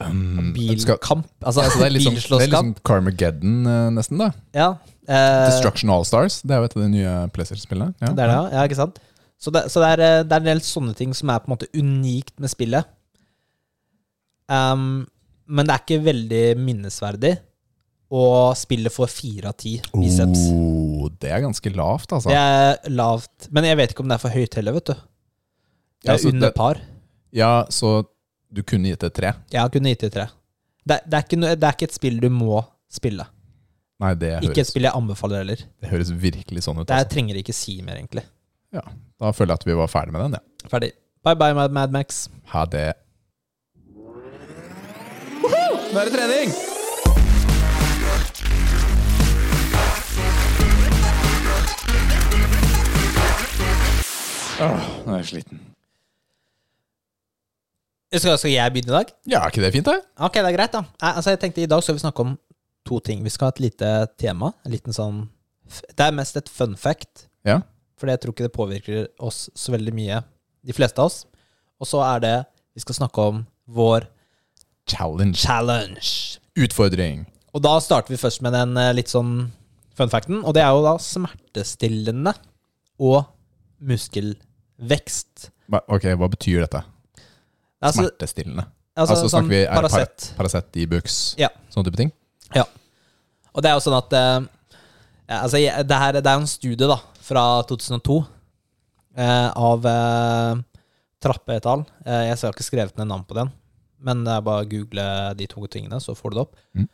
S2: Um, skal,
S1: Bilkamp? Altså,
S2: altså det er liksom, det er liksom
S1: bilslåsskamp?
S2: Carmageddon, eh, nesten, da.
S1: Ja. eh,
S2: Destruction All Stars. Det er jo et av de nye PlayStation-spillene. Ja.
S1: det er det, ja. ja. Ikke sant? Så, det, så det, er, eh, det er en del sånne ting som er på en måte unikt med spillet. Ehm, men det er ikke veldig minnesverdig. Og spillet får fire av ti i subs.
S2: Oh, det er ganske lavt, altså.
S1: Det er lavt. Men jeg vet ikke om det er for høyt heller, vet du. Det
S2: Ja,
S1: er
S2: altså,
S1: under
S2: det-
S1: par.
S2: Ja, så du kunne gitt det tre.
S1: Jeg kunne gitt det tre. Det, det, er ikke, noe- det er ikke et spill du må spille.
S2: Nei, det
S1: Ikke et
S2: høres,
S1: spill jeg anbefaler heller.
S2: det høres virkelig sånn ut.
S1: Det
S2: Altså.
S1: trenger ikke si mer, egentlig.
S2: Ja, da føler jeg at vi var ferdig med den. Ja.
S1: Ferdig. Bye bye, Mad Mad Max.
S2: Ha det. Nå er det trening! Åh, nå er jeg sliten.
S1: Skal, skal jeg begynne i dag?
S2: Ja, er ikke det fint, da?
S1: Ok, det er greit, da. Nei, altså, jeg tenkte I dag skal vi snakke om to ting. Vi skal ha et lite tema. En liten sånn f- Det er mest et fun fact,
S2: Ja.
S1: for jeg tror ikke det påvirker oss så veldig mye, de fleste av oss. Og så er det Vi skal snakke om vår
S2: Challenge.
S1: challenge.
S2: Utfordring.
S1: Og da starter vi først med den eh, litt sånn fun facten, og det er jo da smertestillende og muskelvekst.
S2: Hva- Ok, hva betyr dette?
S1: Altså,
S2: Smertestillende.
S1: altså,
S2: altså,
S1: sånn
S2: snakker vi er det par-
S1: Paracet.
S2: Paracet, Ibux,
S1: Ja.
S2: sånne type ting?
S1: Ja. Og det er jo sånn at eh, ja, altså, jeg- det, her, det er jo en studie da, fra 2002 eh, av eh, Trappe et al. Eh, jeg har ikke skrevet ned navn på den, men det er bare å google de to tingene, så får du det opp.
S2: Mm.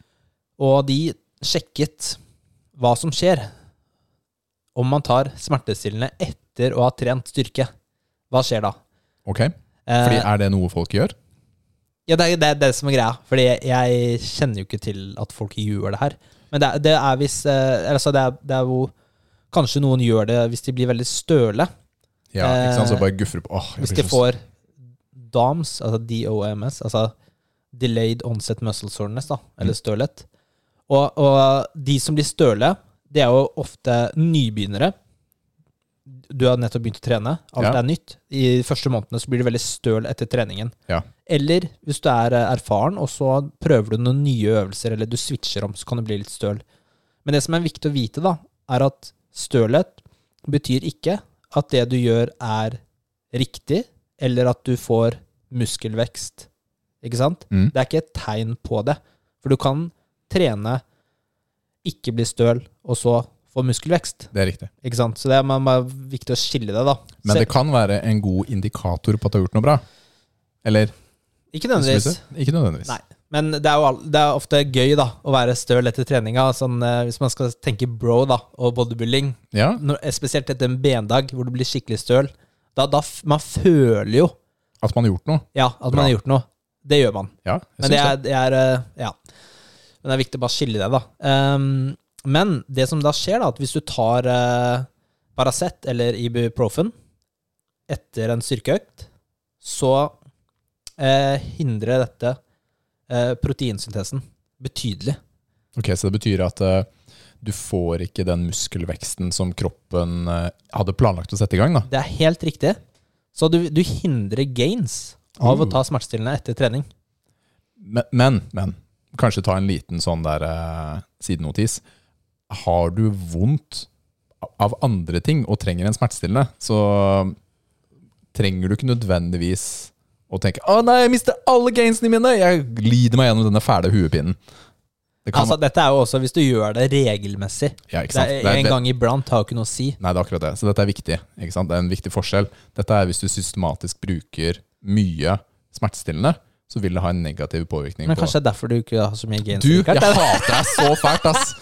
S1: Og de sjekket hva som skjer om man tar smertestillende etter å ha trent styrke. Hva skjer da?
S2: Ok,
S1: Eh,
S2: fordi er det noe folk gjør?
S1: ja, det er det, er det som er greia. Fordi jeg kjenner jo ikke til at folk gjør det her. Men det, er- det er hvis eh, altså det, er, det er jo Kanskje noen gjør det hvis de blir veldig støle.
S2: Ja, ikke sant? Så
S1: eh,
S2: bare guffer opp. Åh, jeg
S1: Hvis
S2: blir
S1: de
S2: så-
S1: får DOMS, altså DOMS, altså Delayed Onset Muscle Soreness, da, eller
S2: Mm.
S1: stølhet. Og, og de som blir støle, det er jo ofte nybegynnere. Du har nettopp begynt å trene, alt
S2: Ja.
S1: er nytt. I de første månedene så blir du veldig støl etter treningen.
S2: Ja.
S1: Eller hvis du er eh, erfaren, og så prøver du noen nye øvelser, eller du switcher om, så kan du bli litt støl. Men det som er viktig å vite, da, er at stølhet betyr ikke at det du gjør, er riktig, eller at du får muskelvekst. Ikke sant?
S2: Mm.
S1: Det er ikke et tegn på det. For du kan trene, ikke bli støl, og så få muskelvekst.
S2: Det er riktig.
S1: Ikke sant? Så det er man- man er viktig å skille det, da.
S2: Men
S1: Se-
S2: det kan være en god indikator på at du har gjort noe bra. Eller?
S1: ikke
S2: hvis du
S1: nødvendigvis.
S2: vil si. Ikke nødvendigvis.
S1: Nei. Men det er jo all, det er ofte gøy da å være støl etter treninga. Sånn, eh, hvis man skal tenke bro da og bodybuilding,
S2: Ja,
S1: når, eh, spesielt etter en bendag hvor du blir skikkelig støl, da, da f man føler jo
S2: at man har gjort noe.
S1: ja, at
S2: Bra.
S1: man har gjort noe. Det gjør man.
S2: Ja, jeg
S1: Men det
S2: synes
S1: er, det er eh, ja. Men det er viktig å bare skille det, da. Ehm, men det som da skjer, da, at hvis du tar eh, Paracet eller Ibuprofen etter en styrkeøkt, så eh, hindrer dette eh, proteinsyntesen betydelig.
S2: Ok, så det betyr at eh, du får ikke den muskelveksten som kroppen eh, hadde planlagt å sette i gang, da.
S1: Det er helt riktig. Så du, du hindrer gains av
S2: Mm.
S1: å ta smertestillende etter trening.
S2: Men, men, men kanskje ta en liten sånn der eh, sidenotis. Har du vondt av andre ting og trenger en smertestillende, så trenger du ikke nødvendigvis å tenke 'Å nei, jeg mister alle gainsene mine! Jeg lider meg gjennom denne fæle huepinen'. Det kan,
S1: Altså, dette er jo også hvis du gjør det regelmessig.
S2: ja,
S1: Det
S2: ikke sant?
S1: er,
S2: Det er-
S1: en
S2: det-
S1: gang iblant har jo ikke noe å si.
S2: Nei, det er akkurat det. Så dette er viktig. Ikke sant? Det er en viktig forskjell. Dette er hvis du systematisk bruker mye smertestillende, så vil det ha en negativ påvirkning
S1: Men
S2: på
S1: kanskje det er derfor du ikke har så mye gains.
S2: Du, jeg
S1: Richard.
S2: hater deg så fælt, ass!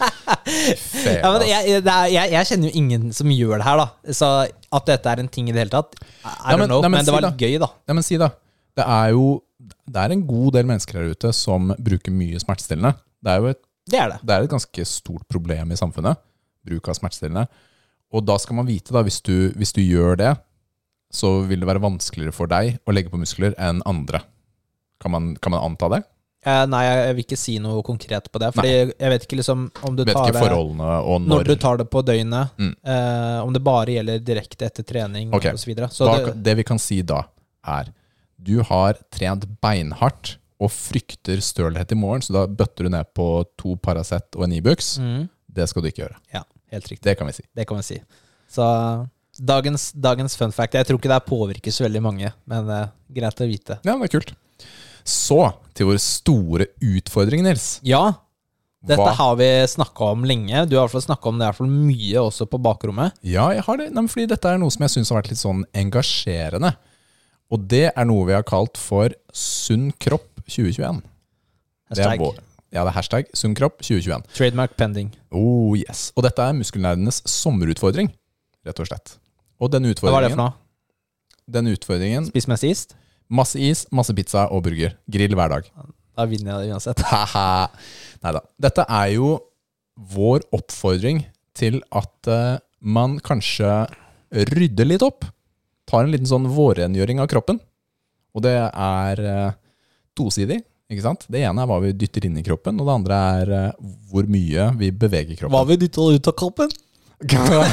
S2: Faen,
S1: Ja, men
S2: ass.
S1: jeg, det er, jeg, jeg kjenner jo ingen som gjør det her, da. Så at dette er en ting i det hele tatt, I I
S2: Ja,
S1: don't
S2: men-
S1: know.
S2: nei, men
S1: men det
S2: si
S1: var litt gøy, da.
S2: Nei, men si da. Det er jo det er en god del mennesker her ute som bruker mye smertestillende. Det er jo et
S1: Det er det.
S2: Det er et ganske stort problem i samfunnet, bruk av smertestillende. Og da skal man vite, da, hvis du, hvis du gjør det, så vil det være vanskeligere for deg å legge på muskler enn andre. Kan man, kan man anta det?
S1: Eh, nei, jeg jeg vil ikke si noe konkret på det. Fordi jeg vet ikke liksom om du
S2: Vet
S1: tar
S2: ikke
S1: det
S2: forholdene og
S1: når
S2: når.
S1: du tar det på døgnet,
S2: Mm.
S1: eh, om det bare gjelder direkte etter trening
S2: Ok.
S1: osv. Så, videre. så
S2: da,
S1: det,
S2: det vi kan si da, er du har trent beinhardt og frykter stølhet i morgen, så da bøtter du ned på to Paracet og en Ibux.
S1: mm,
S2: Det skal du ikke gjøre.
S1: ja, helt riktig.
S2: Det kan vi si.
S1: Det kan vi si. Så dagens, dagens fun fact Jeg tror ikke det her påvirker så veldig mange, men eh, greit å vite.
S2: Ja, men det er kult. Så til vår store utfordring, Nils.
S1: Ja, dette
S2: Hva-
S1: har vi snakka om lenge. Du har i hvert fall snakka om det i hvert fall mye også på bakrommet.
S2: Ja, jeg har det. Nei, men fordi dette er noe som jeg syns har vært litt sånn engasjerende. Og det er noe vi har kalt for Sunn kropp 2021. Det er
S1: Hashtag
S2: vår- Ja, det er hashtag Sunn kropp 2021.
S1: trademark pending.
S2: Oh yes. Og dette er muskelnerdenes sommerutfordring, rett og slett. Og denne
S1: Hva var det for
S2: utfordringen,
S1: noe?
S2: denne utfordringen
S1: Spis meg sist?
S2: Masse is, masse pizza og burger. Grill hver dag.
S1: Da vinner jeg det uansett.
S2: <laughs> Haha. Neida. Dette er jo vår oppfordring til at eh, man kanskje rydder litt opp. Tar en liten sånn vårrengjøring av kroppen. Og det er eh, tosidig, ikke sant? Det ene er hva vi dytter inn i kroppen, og det andre er eh, hvor mye vi beveger kroppen.
S1: vil du ta ut av kroppen?
S2: ja,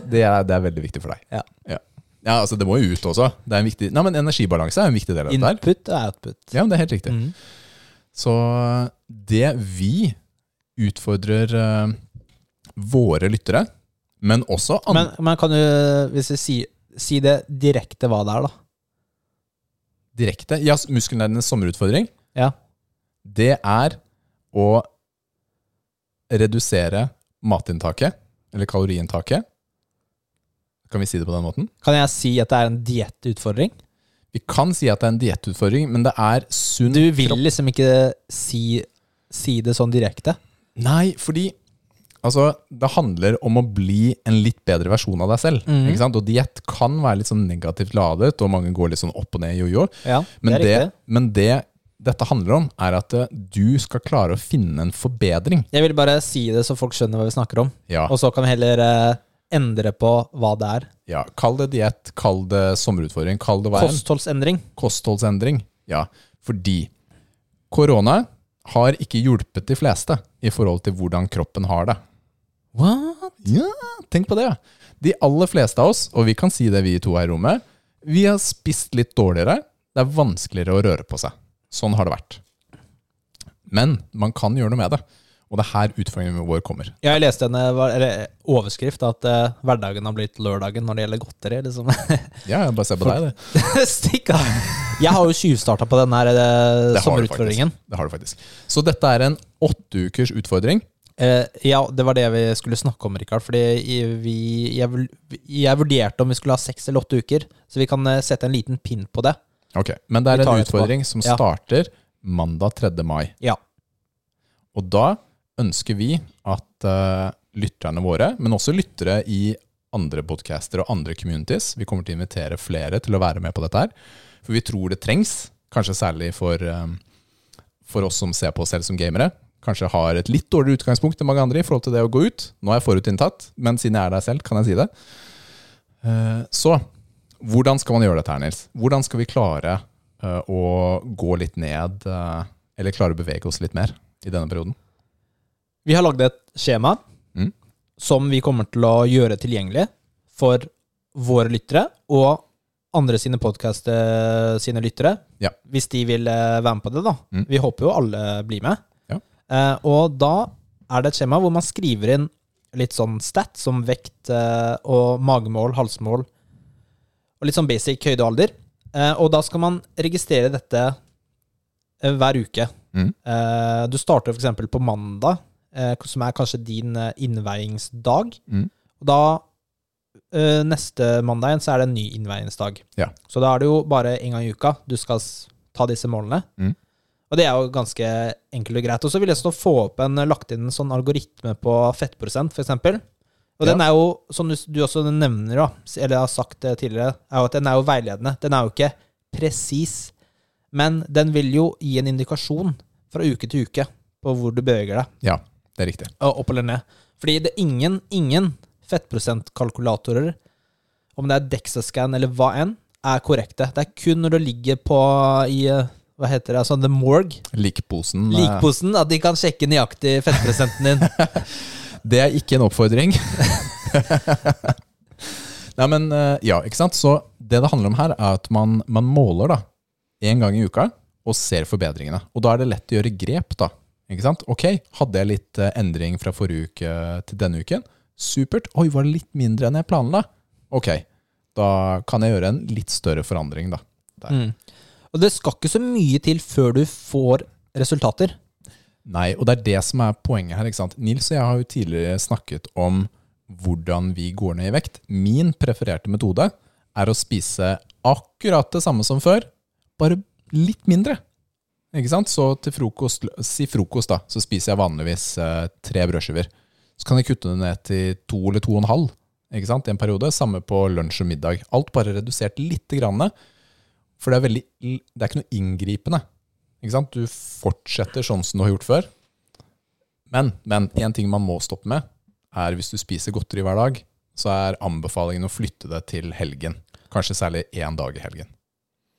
S2: det er, det er veldig viktig for deg.
S1: Ja.
S2: Ja. Ja, altså Det må jo ut også. Det er en viktig, nei, men Energibalanse er en viktig del av dette. her.
S1: Input og output.
S2: Ja, men det er helt riktig.
S1: Mm.
S2: Så det vi utfordrer eh, våre lyttere, men også andre
S1: Men, men kan du, hvis vi sier Si det direkte hva det er, da.
S2: direkte Ja, s- muskelnerdenes sommerutfordring,
S1: Ja.
S2: det er å redusere matinntaket, eller kaloriinntaket. Kan vi si det på den måten?
S1: Kan jeg si at det er en diettutfordring?
S2: Vi kan si at det er en diettutfordring, men det er sunn
S1: Du vil liksom ikke si, si det sånn direkte.
S2: Nei, fordi altså, det handler om å bli en litt bedre versjon av deg selv.
S1: Mhm.
S2: Ikke sant? Og diett kan være litt sånn negativt ladet, og mange går litt sånn opp og ned jojo.
S1: Ja,
S2: Men,
S1: det er
S2: det,
S1: riktig.
S2: men det dette handler om, er at eh, du skal klare å finne en forbedring.
S1: Jeg vil bare si det så folk skjønner hva vi snakker om.
S2: Ja,
S1: Og så kan vi heller eh, endre på hva det er.
S2: ja. Kall det diett, kall det sommerutfordring, kall det hva enn.
S1: Kostholdsendring.
S2: Kostholdsendring. Ja, fordi korona har ikke hjulpet de fleste i forhold til hvordan kroppen har det.
S1: What?
S2: Ja, tenk på det. De aller fleste av oss, og vi kan si det vi to her i rommet, vi har spist litt dårligere. Det er vanskeligere å røre på seg. Sånn har det vært. Men man kan gjøre noe med det. Og det er her utfordringen vår kommer.
S1: Ja, jeg leste en eh, var- eller, eh, overskrift at eh, hverdagen har blitt lørdagen når det gjelder godteri. liksom. <laughs>
S2: Ja, jeg bare se på deg, det.
S1: Stikk av! Jeg har jo tjuvstarta på den her eh,
S2: Det har, du
S1: sommerutfordringen.
S2: faktisk. det har du faktisk. Så dette er en åtteukers utfordring.
S1: Eh, ja, det var det vi skulle snakke om, Rikard. Fordi i- vi, jeg, vul- jeg vurderte om vi skulle ha seks eller åtte uker. Så vi kan eh, sette en liten pin på det.
S2: Ok, Men det
S1: Vi
S2: er
S1: tar
S2: en
S1: det etterpå.
S2: utfordring som
S1: Ja.
S2: starter mandag 3. mai.
S1: Ja.
S2: Og da ønsker vi at eh, lytterne våre, men også lyttere i andre podcaster og andre communities, vi kommer til å invitere flere til å være med på dette her, for vi tror det trengs, kanskje særlig for, eh, for oss som ser på oss selv som gamere, kanskje har et litt dårligere utgangspunkt enn mange andre i forhold til det å gå ut. Nå er jeg forutinntatt, men siden jeg er der selv, kan jeg si det. Eh, Så, hvordan skal man gjøre dette her, Nils? Hvordan skal vi klare eh, å gå litt ned, eh, eller klare å bevege oss litt mer i denne perioden?
S1: Vi har lagd et skjema
S2: Mm.
S1: som vi kommer til å gjøre tilgjengelig for våre lyttere og andre sine podkast sine lyttere,
S2: Ja.
S1: hvis de vil eh, være med på det. da.
S2: Mm.
S1: Vi håper jo alle blir med.
S2: Ja.
S1: Eh, og da er det et skjema hvor man skriver inn litt sånn stats som vekt eh, og magemål, halsmål, og litt sånn basic høyde og alder. Eh, og da skal man registrere dette eh, hver uke.
S2: Mm.
S1: Eh, du starter f.eks. på mandag, eh, som er kanskje din eh, innveiingsdag.
S2: Mm.
S1: Og da eh, neste mandag igjen så er det en ny innveiingsdag.
S2: Ja.
S1: Så da er det jo bare en gang i uka du skal s- ta disse målene.
S2: Mm.
S1: Og det er jo ganske enkelt og greit. Og så vil jeg også få opp en, lagt inn en sånn algoritme på fettprosent, f.eks. Og
S2: Ja.
S1: den er jo, som du, du også nevner, da, s- eller har sagt det tidligere, er jo at den er jo veiledende. Den er jo ikke presis, men den vil jo gi en indikasjon fra uke til uke på hvor du beveger deg,
S2: Ja, det er riktig.
S1: og opp eller ned. Fordi det er ingen, ingen fettprosentkalkulatorer, om det er Dexascan eller hva enn, er korrekte. Det er kun når du ligger på i eh, hva heter det, altså the morgue,
S2: Likposen. eh,
S1: likposen, at de kan sjekke nøyaktig fettprosenten din.
S2: <laughs> Det er ikke en oppfordring. Nei, men eh, ja, ikke sant? Så det det handler om her, er at man, man måler da, en gang i uka og ser forbedringene. Og da er det lett å gjøre grep, da. Ikke sant? Ok, hadde jeg litt eh, endring fra forrige uke til denne uken? Supert. Oi, var det litt mindre enn jeg planla? Ok, da kan jeg gjøre en litt større forandring, da. Der.
S1: Mm. Og det skal ikke så mye til før du får resultater.
S2: Nei, og det er det som er poenget her. ikke sant? Nils og jeg har jo tidligere snakket om hvordan vi går ned i vekt. Min prefererte metode er å spise akkurat det samme som før, bare litt mindre. Ikke sant? Så til frokost, si frokost, da, så spiser jeg vanligvis eh, tre brødskiver. Så kan jeg kutte det ned til to eller to og en halv ikke sant? i en periode. Samme på lunsj og middag. Alt bare redusert lite grann. For det er, veldig, det er ikke noe inngripende. Ikke sant? Du fortsetter sånn som du har gjort før. Men, men en ting man må stoppe med, er hvis du spiser godteri hver dag, så er anbefalingen å flytte det til helgen. Kanskje særlig én dag i helgen.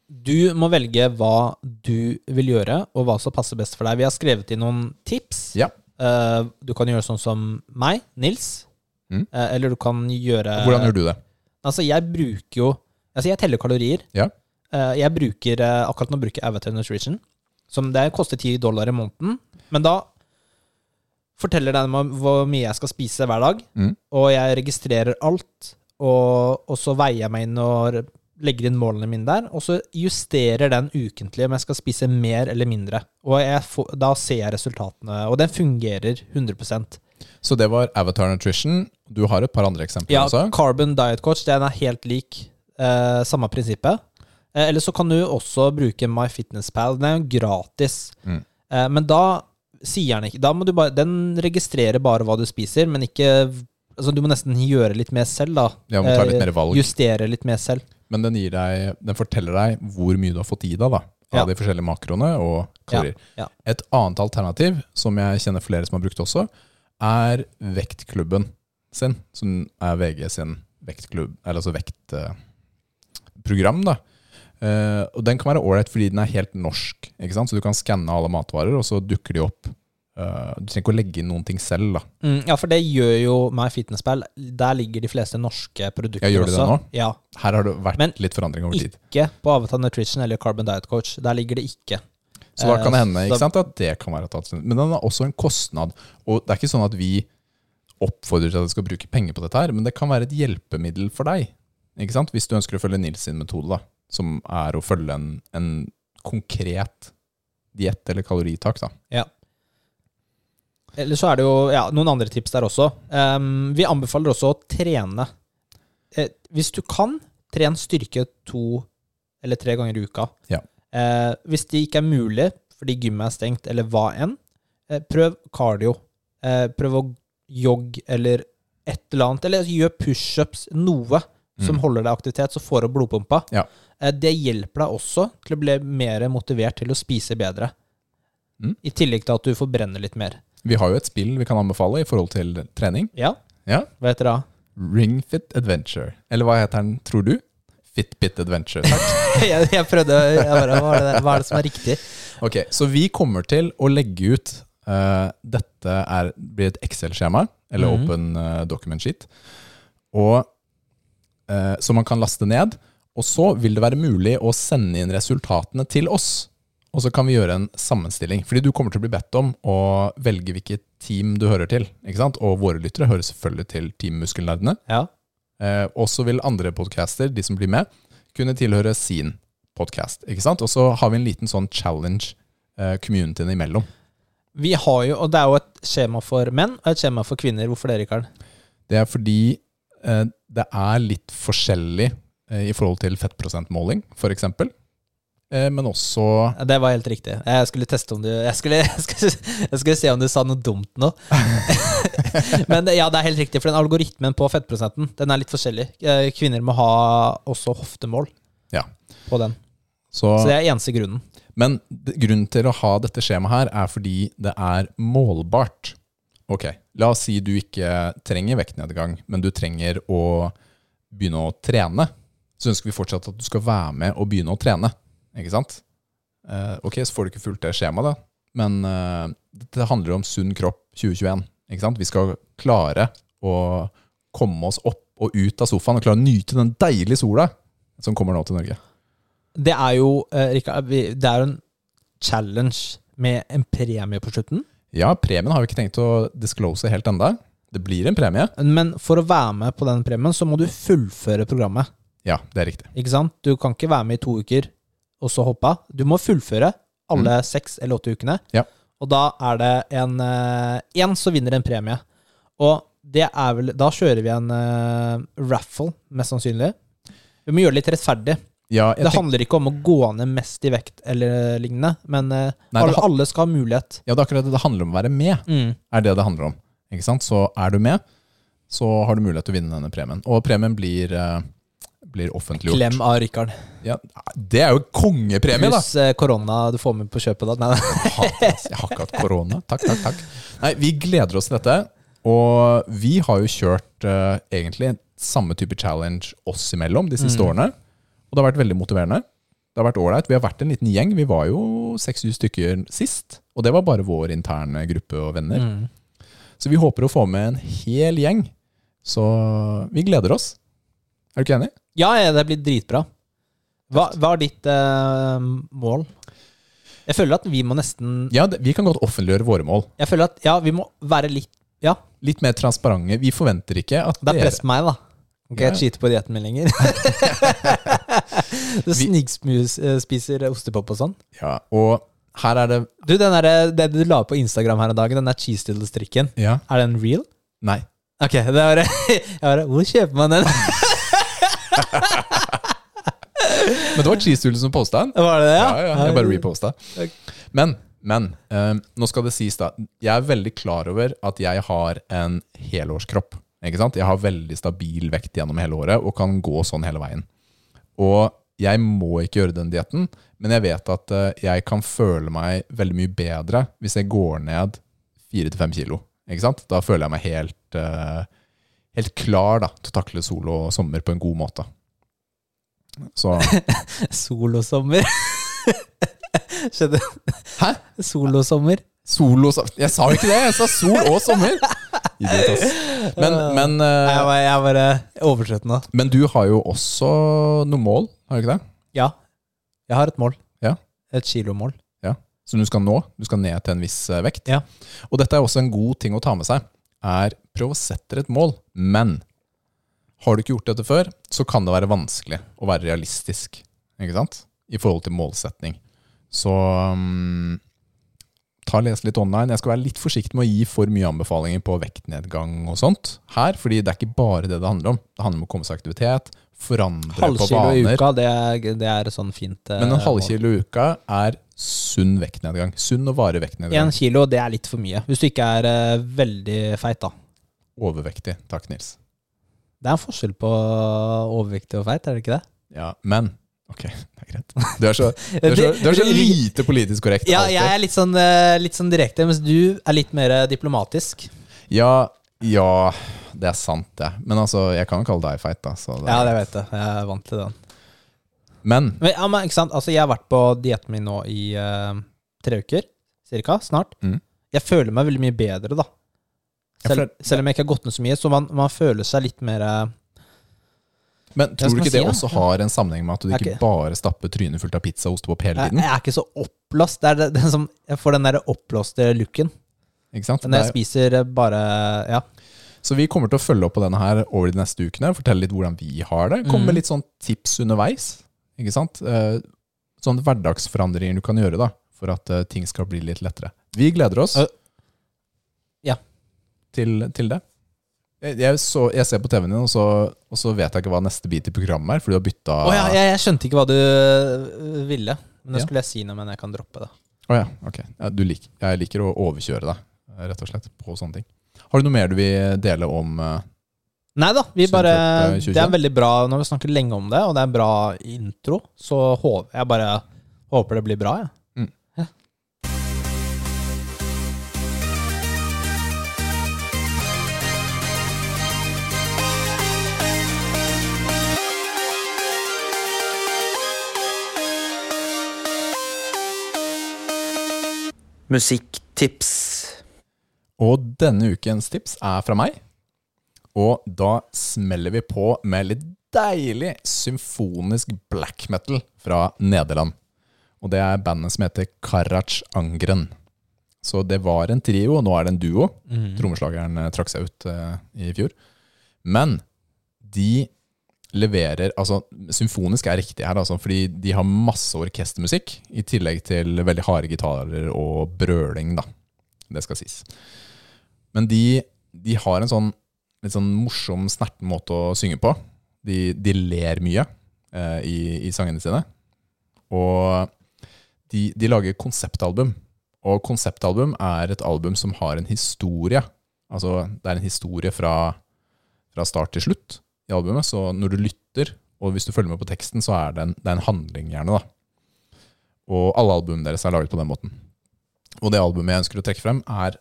S1: Du må velge hva du vil gjøre, og hva som passer best for deg. Vi har skrevet inn noen tips.
S2: Ja.
S1: Eh, du kan gjøre sånn som meg, Nils.
S2: Mm.
S1: Eh, eller du kan gjøre
S2: Hvordan gjør du det?
S1: Altså, jeg bruker jo Altså, jeg teller kalorier.
S2: Ja.
S1: Eh, jeg bruker eh, Akkurat nå bruker jeg Avatar Nutrition, som det koster 10 dollar i måneden. Men da forteller den meg hvor mye jeg skal spise hver dag,
S2: Mm.
S1: og jeg registrerer alt, og, og så veier jeg meg inn og legger inn målene mine der, og så justerer den ukentlig om jeg skal spise mer eller mindre. Og jeg får, da ser jeg resultatene, og den fungerer 100
S2: Så det var Avatar Nutrition. Du har et par andre eksempler
S1: Ja,
S2: også.
S1: Carbon Diet Coach, den er helt lik eh, samme prinsippet. Eh, eller så kan du også bruke MyFitnessPal. Den er jo gratis.
S2: Mm.
S1: Eh, men da sier den ikke Da må du bare Den registrerer bare hva du spiser, men ikke Altså, du må nesten gjøre litt mer selv, da.
S2: Ja, man tar litt
S1: Eh,
S2: mer valg.
S1: Justere litt mer selv.
S2: Men den, gir deg, den forteller deg hvor mye du har fått i deg da, av
S1: Ja.
S2: de forskjellige makroene og kalorier.
S1: Ja, ja.
S2: Et annet alternativ, som jeg kjenner flere som har brukt også, er Vektklubben sin, som er VG sin vektklubb, eller altså vektprogram. da. Eh, og den kan være ålreit fordi den er helt norsk. ikke sant? Så du kan skanne alle matvarer, og så dukker de opp. Eh, du trenger ikke å legge inn noen ting selv. da.
S1: Mm, ja, for det gjør jo MyFitnessPal. Der ligger de fleste norske produkter
S2: Ja, gjør de det
S1: også.
S2: nå?
S1: Ja.
S2: Her har det vært
S1: Men
S2: litt forandring over tid.
S1: Ikke på Avatar Nutrition eller Carbon Diet Coach. Der ligger det ikke.
S2: Så da kan det
S1: Eh,
S2: hende
S1: så-
S2: ikke sant, at det kan være et alternativ. Men den har også en kostnad. Og det er ikke sånn at vi oppfordrer til at du skal bruke penger på dette, her, men det kan være et hjelpemiddel for deg. Ikke sant? Hvis du ønsker å følge Nils sin metode, da, som er å følge en, en konkret diett eller kaloritak. Da.
S1: Eller så er det jo ja, noen andre tips der også. Ehm, vi anbefaler også å trene. Eh, hvis du kan, tren styrke to eller tre ganger i uka.
S2: Ja.
S1: Eh, hvis det ikke er mulig fordi gymmet er stengt, eller hva enn, eh, prøv cardio. Eh, prøv å jogge eller et eller annet. Eller gjør pushups, noe som
S2: Mm.
S1: holder deg i aktivitet, så får du opp blodpumpa.
S2: Ja.
S1: Eh, det hjelper deg også til å bli mer motivert til å spise bedre.
S2: Mm.
S1: I tillegg til at du forbrenner litt mer.
S2: Vi har jo et spill vi kan anbefale i forhold til trening.
S1: Ja.
S2: Ja.
S1: Hva <laughs> heter det da?
S2: Ringfit Adventure. Eller hva heter den, tror du? Fitbit Adventure. Takk.
S1: jeg, jeg prøvde jeg bare, hva, er det, der- hva er det som er riktig?
S2: Ok, Så vi kommer til å legge ut eh, Dette er, blir et Excel-skjema, eller
S1: Mhm.
S2: Open eh, Document Sheet, og, eh, som man kan laste ned. Og så vil det være mulig å sende inn resultatene til oss. Og så kan vi gjøre en sammenstilling. Fordi du kommer til å bli bedt om å velge hvilket team du hører til. ikke sant? Og våre lyttere hører selvfølgelig til Team Muskelnerdene.
S1: Ja.
S2: Eh, også vil andre podcaster, de som blir med, kunne tilhøre sin podcast. Ikke sant? Og så har vi en liten sånn challenge eh, communityen imellom.
S1: Vi har jo, og det er jo et skjema for menn og et skjema for kvinner. Hvorfor det, Rikard?
S2: Det er fordi eh, det er litt forskjellig eh, i forhold til fettprosentmåling, for eksempel. Eh, men også
S1: Ja, Det var helt riktig. Jeg skulle teste om du Jeg skulle, <laughs> jeg skulle, jeg skulle se om du sa noe dumt nå. <laughs> Men det- ja, det er helt riktig, for den algoritmen på fettprosenten, den er litt forskjellig. Eh, Kvinner må ha også hoftemål
S2: Ja.
S1: på den.
S2: Så,
S1: Så det er eneste grunnen.
S2: Men d- grunnen til å ha dette skjemaet her er fordi det er målbart. Ok, la oss si du ikke trenger vektnedgang, men du trenger å begynne å trene. Så ønsker vi fortsatt at du skal være med og begynne å trene. Ikke sant? Eh, ok, så får du ikke fulgt det skjemaet, da. Men eh, dette handler om sunn kropp 2021. Ikke sant? Vi skal klare å komme oss opp og ut av sofaen og klare å nyte den deilige sola som kommer nå til Norge.
S1: Det er jo eh, Rikard, vi- det er jo en challenge med en premie på slutten.
S2: Ja, premien har vi ikke tenkt å disclose helt enda. Det blir en premie.
S1: Men for å være med på den premien, så må du fullføre programmet.
S2: Ja, det er riktig.
S1: Ikke sant? Du kan ikke være med i to uker og så hoppe av. Du må fullføre alle seks eller åtte ukene.
S2: Mm. Ja.
S1: Og da er det en eh, En som vinner en premie. Og det er vel Da kjører vi en eh, raffle, mest sannsynlig. Vi må gjøre det litt rettferdig.
S2: Ja, jeg
S1: Det
S2: tenk,
S1: handler ikke om å gå ned mest i vekt eller lignende, men eh,
S2: Nei,
S1: alle,
S2: det han-
S1: alle skal ha mulighet.
S2: ja, det er akkurat det. Det handler om å være med,
S1: Mm.
S2: er det det handler om. Ikke sant? Så er du med, så har du mulighet til å vinne denne premien. Og premien blir, eh, blir offentliggjort.
S1: Klem av Rikard.
S2: Ja, det er jo kongepremie, da!
S1: Pluss eh, korona du får med på kjøpet. Da. Nei, nei.
S2: Jeg hater det, ass. Jeg har ikke hatt korona. Takk, takk, takk. Nei, vi gleder oss til dette. Og vi har jo kjørt eh, egentlig samme type challenge oss imellom de
S1: Mm.
S2: siste årene. Og det har vært veldig motiverende. Det har vært ålreit. Vi har vært en liten gjeng. Vi var jo seks-syv stykker sist. Og det var bare vår interne gruppe og venner.
S1: Mm.
S2: Så vi håper å få med en hel gjeng. Så vi gleder oss. Er du ikke enig?
S1: Ja, ja, det blir dritbra. Hva, hva er ditt eh, mål? Jeg føler at vi må nesten
S2: Ja, det, vi kan godt offentliggjøre våre mål.
S1: Jeg føler at ja, vi må være litt Ja,
S2: Litt mer transparente. Vi forventer ikke at
S1: det er
S2: dere
S1: press på meg, da. Kan ikke
S2: Ja, ja.
S1: jeg cheate på dietten min
S2: <laughs>
S1: lenger. <laughs> du snikspiser ostepop og sånn.
S2: ja, Og her er det
S1: Du, den der, eh, det du la på Instagram her en dag, den der cheese doodles-trikken,
S2: Ja.
S1: er den real?
S2: Nei.
S1: Ok, det var <laughs> jeg bare, Hvor kjøper man den? <laughs>
S2: Men det var Cheesehull som posta den.
S1: Var det det?
S2: Ja, ja, jeg bare reposta.
S1: Takk.
S2: Men, men eh, nå skal det sies, da. Jeg er veldig klar over at jeg har en helårskropp. Ikke sant? Jeg har veldig stabil vekt gjennom hele året og kan gå sånn hele veien. Og jeg må ikke gjøre den dietten, men jeg vet at eh, jeg kan føle meg veldig mye bedre hvis jeg går ned 4-5 kilo. Ikke sant? Da føler jeg meg helt, eh, helt klar da, til å takle sol og sommer på en god måte. Så
S1: Sol og <laughs> sommer. Skjedde
S2: Hæ?
S1: Sol og sommer.
S2: Sol og sommer Jeg sa jo ikke det, jeg sa sol og sommer. Idiot, ass. Men, men, eh,
S1: Jeg bare, jeg bare overtrøtt nå.
S2: men du har jo også noen mål, har du ikke det?
S1: Ja. Jeg har et mål.
S2: Ja.
S1: Et kilomål.
S2: Som du skal nå. Du skal ned til en viss eh, vekt.
S1: Ja.
S2: Og dette er også en god ting å ta med seg. Er Prøv å sette deg et mål, men har du ikke gjort dette før, så kan det være vanskelig å være realistisk ikke sant? i forhold til målsetning. Så mm, ta og les litt online. Jeg skal være litt forsiktig med å gi for mye anbefalinger på vektnedgang og sånt her, fordi det er ikke bare det det handler om. Det handler om å komme seg i aktivitet, forandre på
S1: Halvkilo i
S2: vaner.
S1: uka, det er, det er sånn fint. eh,
S2: Men en
S1: mål.
S2: halvkilo i uka er sunn vektnedgang. Sunn og varig vektnedgang.
S1: En kilo, det er litt for mye. Hvis du ikke er eh, veldig feit, da.
S2: Overvektig. Takk, Nils.
S1: Det er en forskjell på overvektig og feit, er det ikke det?
S2: Ja, men Ok, <laughs> det er greit. Du er så, du er så, du er så lite politisk korrekt.
S1: Ja,
S2: alltid.
S1: jeg er litt sånn, eh, litt sånn direkte, mens du er litt mer eh, diplomatisk.
S2: ja, ja, det er sant, det. Men altså, jeg kan jo kalle deg feit, da. Så det er
S1: Ja, det
S2: greit.
S1: vet jeg. Jeg er vant til den.
S2: Men
S1: Men, ja, men ikke sant? Altså, jeg har vært på dietten min nå i eh, tre uker, cirka, snart.
S2: Mm.
S1: Jeg føler meg veldig mye bedre, da.
S2: Ja, for
S1: Selv,
S2: det-
S1: selv om jeg ikke har gått ned så mye, så man, man føler seg litt mer eh,
S2: Men
S1: skal
S2: tror du
S1: man
S2: ikke
S1: si,
S2: det
S1: da?
S2: også har en sammenheng med at du
S1: Det er
S2: ikke
S1: ikke-
S2: bare stapper trynet fullt av pizza og ostepop hele
S1: jeg,
S2: tiden?
S1: jeg er ikke så oppblåst. Det er det, det som, jeg får den der oppblåste looken.
S2: Ikke sant?
S1: Når jeg
S2: Det er-
S1: spiser eh, bare Ja.
S2: Så vi kommer til å følge opp på denne her over de neste ukene. Fortelle litt hvordan vi har det.
S1: Mm.
S2: Komme med litt sånn tips underveis. Ikke sant? Eh, Sånne hverdagsforandringer du kan gjøre da, for at eh, ting skal bli litt lettere. Vi gleder oss
S1: Eh, ja.
S2: til, til det. Jeg, jeg, så, jeg ser på TV-en din, og så, og så vet jeg ikke hva neste bit i programmet er, for du har bytta
S1: Å ja, jeg, jeg skjønte ikke hva du øh, ville. Men det
S2: Ah. Ja.
S1: skulle jeg si noe, men jeg kan droppe det.
S2: Å ja, ok. Ja, du lik, jeg liker å overkjøre deg, eh, rett og slett, på sånne ting. Har du noe mer du vil dele om eh,
S1: Nei da, vi
S2: Sunt
S1: bare
S2: kjøpt, eh, 2021.
S1: Det er veldig bra Nå har vi snakket lenge om det, og det er en bra intro, så hå- jeg bare håper det blir bra, jeg.
S3: musikktips.
S2: Og denne ukens tips er fra meg. Og da smeller vi på med litt deilig symfonisk black metal fra Nederland. Og det er bandet som heter Karac Angren. Så det var en trio, og nå er det en duo.
S1: Mm.
S2: Trommeslageren eh, trakk seg ut eh, i fjor. Men de leverer Altså, symfonisk er riktig her, altså, fordi de har masse orkestermusikk, i tillegg til veldig harde gitarer og brøling, da. Det skal sies. Men de, de har en sånn litt sånn morsom, snerten måte å synge på. De, de ler mye eh, i, i sangene sine. Og de, de lager konseptalbum. Og konseptalbum er et album som har en historie. Altså, det er en historie fra, fra start til slutt i albumet. Så når du lytter, og hvis du følger med på teksten, så er det en, det er en handling gjerne, da. Og alle albumene deres er laget på den måten. Og det albumet jeg ønsker å trekke frem, er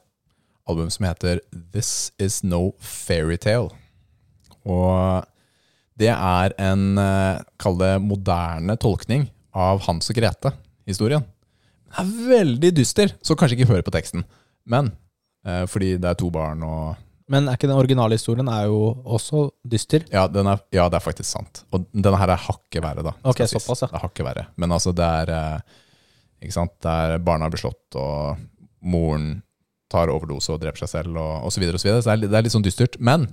S2: album som heter This Is No Fairytale. Og det er en, eh, kall det moderne tolkning av Hans og Grete-historien. Den er veldig dyster, så kanskje ikke hør på teksten. Men eh, fordi det er to barn og
S1: Men er ikke den originale historien er jo også dyster?
S2: Ja, den er, ja det er faktisk sant. Og denne her er hakket verre, da.
S1: Ok,
S2: skal sies.
S1: såpass, ja.
S2: Det er hakket verre. Men altså, det er eh, Ikke sant. Der barna blir slått, og moren tar overdose og dreper seg selv, og, og så videre og så videre. Så det er, litt- det er litt sånn dystert. Men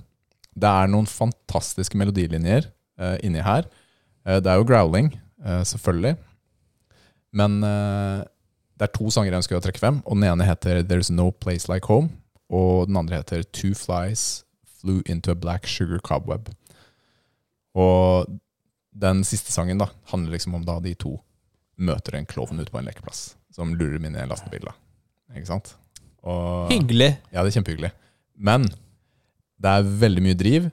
S2: det er noen fantastiske melodilinjer eh, inni her. Eh, det er jo growling, eh, selvfølgelig. Men eh, det er to sanger jeg ønsker å trekke frem. Og den ene heter There's No Place Like Home. Og den andre heter Two Flies Flew Into a Black Sugar Cobweb. Og den siste sangen da handler liksom om da de to møter en klovn ute på en lekeplass som lurer dem inn i en lastebil. da. Ikke sant? Og,
S1: Hyggelig.
S2: ja, det er kjempehyggelig. Men det er veldig mye driv.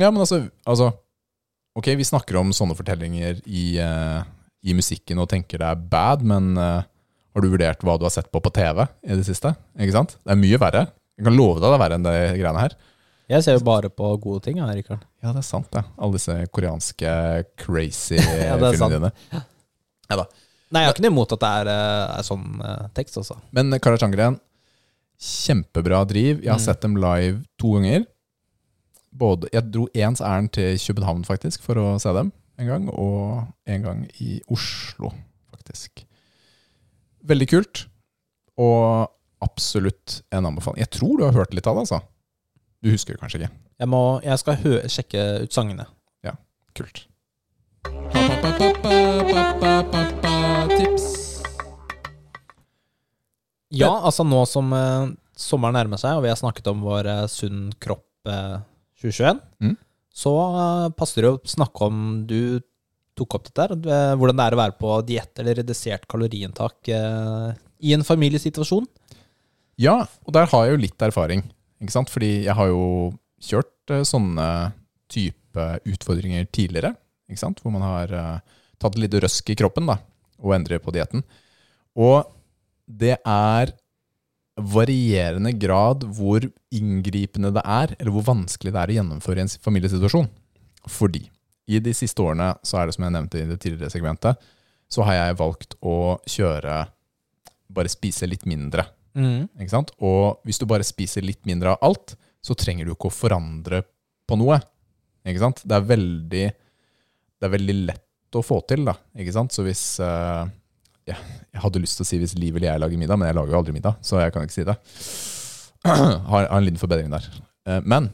S2: Ja, men altså, altså Ok, vi snakker om sånne fortellinger i, eh, i musikken og tenker det er bad, men eh, har du vurdert hva du har sett på på TV i det siste? Ikke sant? Det er mye verre. Jeg kan love deg det er verre enn det greiene her.
S1: Jeg ser jo bare på gode ting, jeg, Rikard.
S2: Ja, det er sant, det. Alle disse koreanske crazy
S1: <laughs> Ja, det er sant.
S2: filmene dine. Ja da.
S1: Nei, jeg har ikke noe imot at det er, eh, er sånn eh, tekst, altså.
S2: Men Kara Changren, kjempebra driv. Jeg har
S1: Mm.
S2: sett dem live to ganger. Både, jeg dro ens ærend til København faktisk for å se dem en gang, og en gang i Oslo, faktisk. Veldig kult, og absolutt en anbefaling. Jeg tror du har hørt litt av det, altså. Du husker det kanskje ikke.
S1: Jeg, må, jeg skal hø sjekke ut sangene.
S2: Kult.
S1: Ja, altså nå som eh, sommeren nærmer seg, og vi har snakket om vår eh, sunn kropp eh, 2021,
S2: Mm.
S1: så eh, passer det å snakke om du tok opp dette her, eh, hvordan det er å være på diett eller redusert kaloriinntak eh, i en familiesituasjon.
S2: Ja, og der har jeg jo litt erfaring. Ikke sant? Fordi jeg har jo kjørt eh, sånne type utfordringer tidligere. Ikke sant? Hvor man har eh, tatt litt røsk i kroppen da, og endrer på dietten. Og det er varierende grad hvor inngripende det er, eller hvor vanskelig det er å gjennomføre i en s- familiesituasjon. Fordi i de siste årene, så er det som jeg nevnte i det tidligere segmentet, så har jeg valgt å kjøre bare spise litt mindre. Ikke sant? Og hvis du bare spiser litt mindre av alt, så trenger du ikke å forandre på noe. Ikke sant? Det er veldig, det er veldig lett å få til, da. Ikke sant? Så hvis eh, ja, Jeg hadde lyst til å si hvis Liv eller jeg lager middag, men jeg lager jo aldri middag, så jeg kan ikke si det. <clears throat> Har, har en liten forbedring der. Eh, men,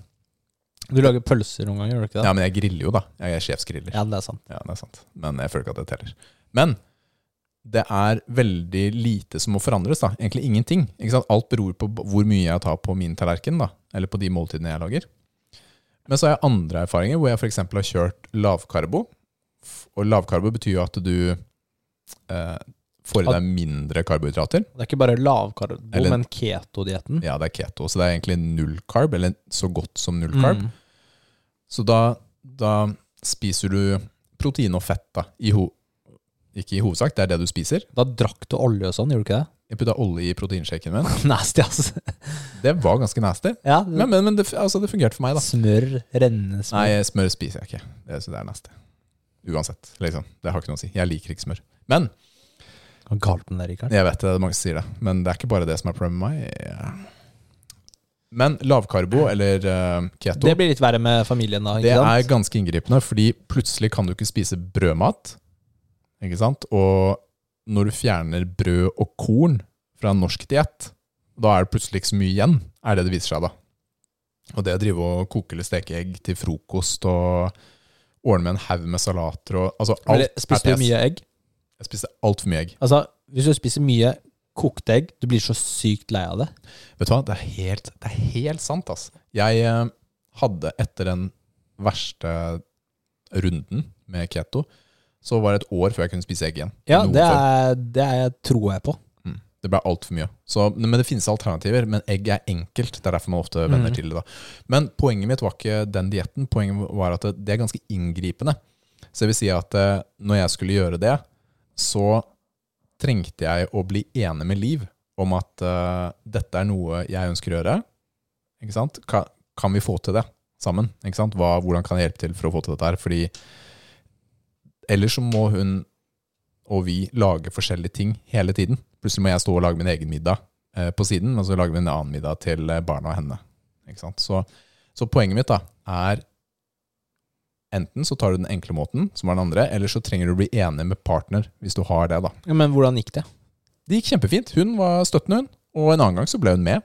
S1: Du lager pølser noen ganger, gjør du ikke det?
S2: ja, men jeg griller jo, da. Jeg er sjefsgriller.
S1: Ja, det er sant.
S2: Ja, det er sant. Men jeg føler ikke at det teller. Men det er veldig lite som må forandres. da. Egentlig ingenting. Ikke sant? Alt beror på b- hvor mye jeg tar på min tallerken, da. eller på de måltidene jeg lager. Men så har jeg andre erfaringer hvor jeg f.eks. har kjørt lavkarbo. F- Og lavkarbo betyr jo at du eh, får i
S1: At-
S2: deg mindre karbohydrater.
S1: Det er ikke bare lavkarbo,
S2: Eller-
S1: men ketodietten.
S2: Ja, det er keto, så det er egentlig null carb, eller så godt som null
S1: Mm.
S2: carb. Så da, da spiser du protein og fett, da. I ho ikke i hovedsak, det er det du spiser.
S1: Da drakk du olje og sånn, gjorde du ikke det? <laughs>
S2: Jeg putta olje i proteinshaken min.
S1: Nasty, altså.
S2: Det var ganske nasty.
S1: Ja,
S2: Men, men, men det, altså, det fungerte for meg, da.
S1: Smør, rennende smør.
S2: Nei, smør spiser jeg ikke. Det, så det er nasty. Uansett, liksom. Det har ikke noe å si. Jeg liker ikke smør. Men
S1: Hva er galt med det, Rikard?
S2: Jeg vet det, det er mange som sier det. Men det er ikke bare det som er problemet med meg. Ja. Men lavkarbo eller eh, keto
S1: Det blir litt verre med familien da,
S2: Det
S1: ikke
S2: er
S1: sant?
S2: ganske inngripende, fordi plutselig kan du ikke spise brødmat. Ikke sant? Og når du fjerner brød og korn fra en norsk diett, da er det plutselig ikke så mye igjen, er det det viser seg da. Og det å drive og koke eller steke egg til frokost og ordne med en haug med salater og altså alt
S1: Eller, spiser
S2: er
S1: du
S2: tes.
S1: mye egg?
S2: Jeg spiste altfor mye egg.
S1: Altså, hvis du spiser mye kokte egg, du blir så sykt lei av det.
S2: Vet du hva, det er helt, det er helt sant, ass. Jeg eh, hadde etter den verste runden med keto, så var det et år før jeg kunne spise egg igjen.
S1: Ja,
S2: Noe
S1: det,
S2: før.
S1: er, det er, tror jeg på.
S2: Mm. Det ble altfor mye. Så, men det finnes alternativer, men egg er enkelt. Det er derfor man ofte vender
S1: Mm.
S2: til det. da. Men poenget mitt var ikke den dietten. Poenget var at det, det er ganske inngripende. Så det vil si at eh, når jeg skulle gjøre det, så trengte jeg å bli enig med Liv om at eh, dette er noe jeg ønsker å gjøre. Ikke sant? Kan, kan vi få til det sammen? Ikke sant? Hva, hvordan kan jeg hjelpe til for å få til dette her? Fordi ellers så må hun og vi lage forskjellige ting hele tiden. Plutselig må jeg stå og lage min egen middag eh, på siden, men så lager vi en annen middag til eh, barna og henne. Ikke sant? Så, så poenget mitt da, er enten så tar du den enkle måten, som er den andre, eller så trenger du å bli enig med partner, hvis du har det. da.
S1: Ja, men hvordan gikk det?
S2: Det gikk kjempefint. Hun var støttende, hun. Og en annen gang så ble hun med.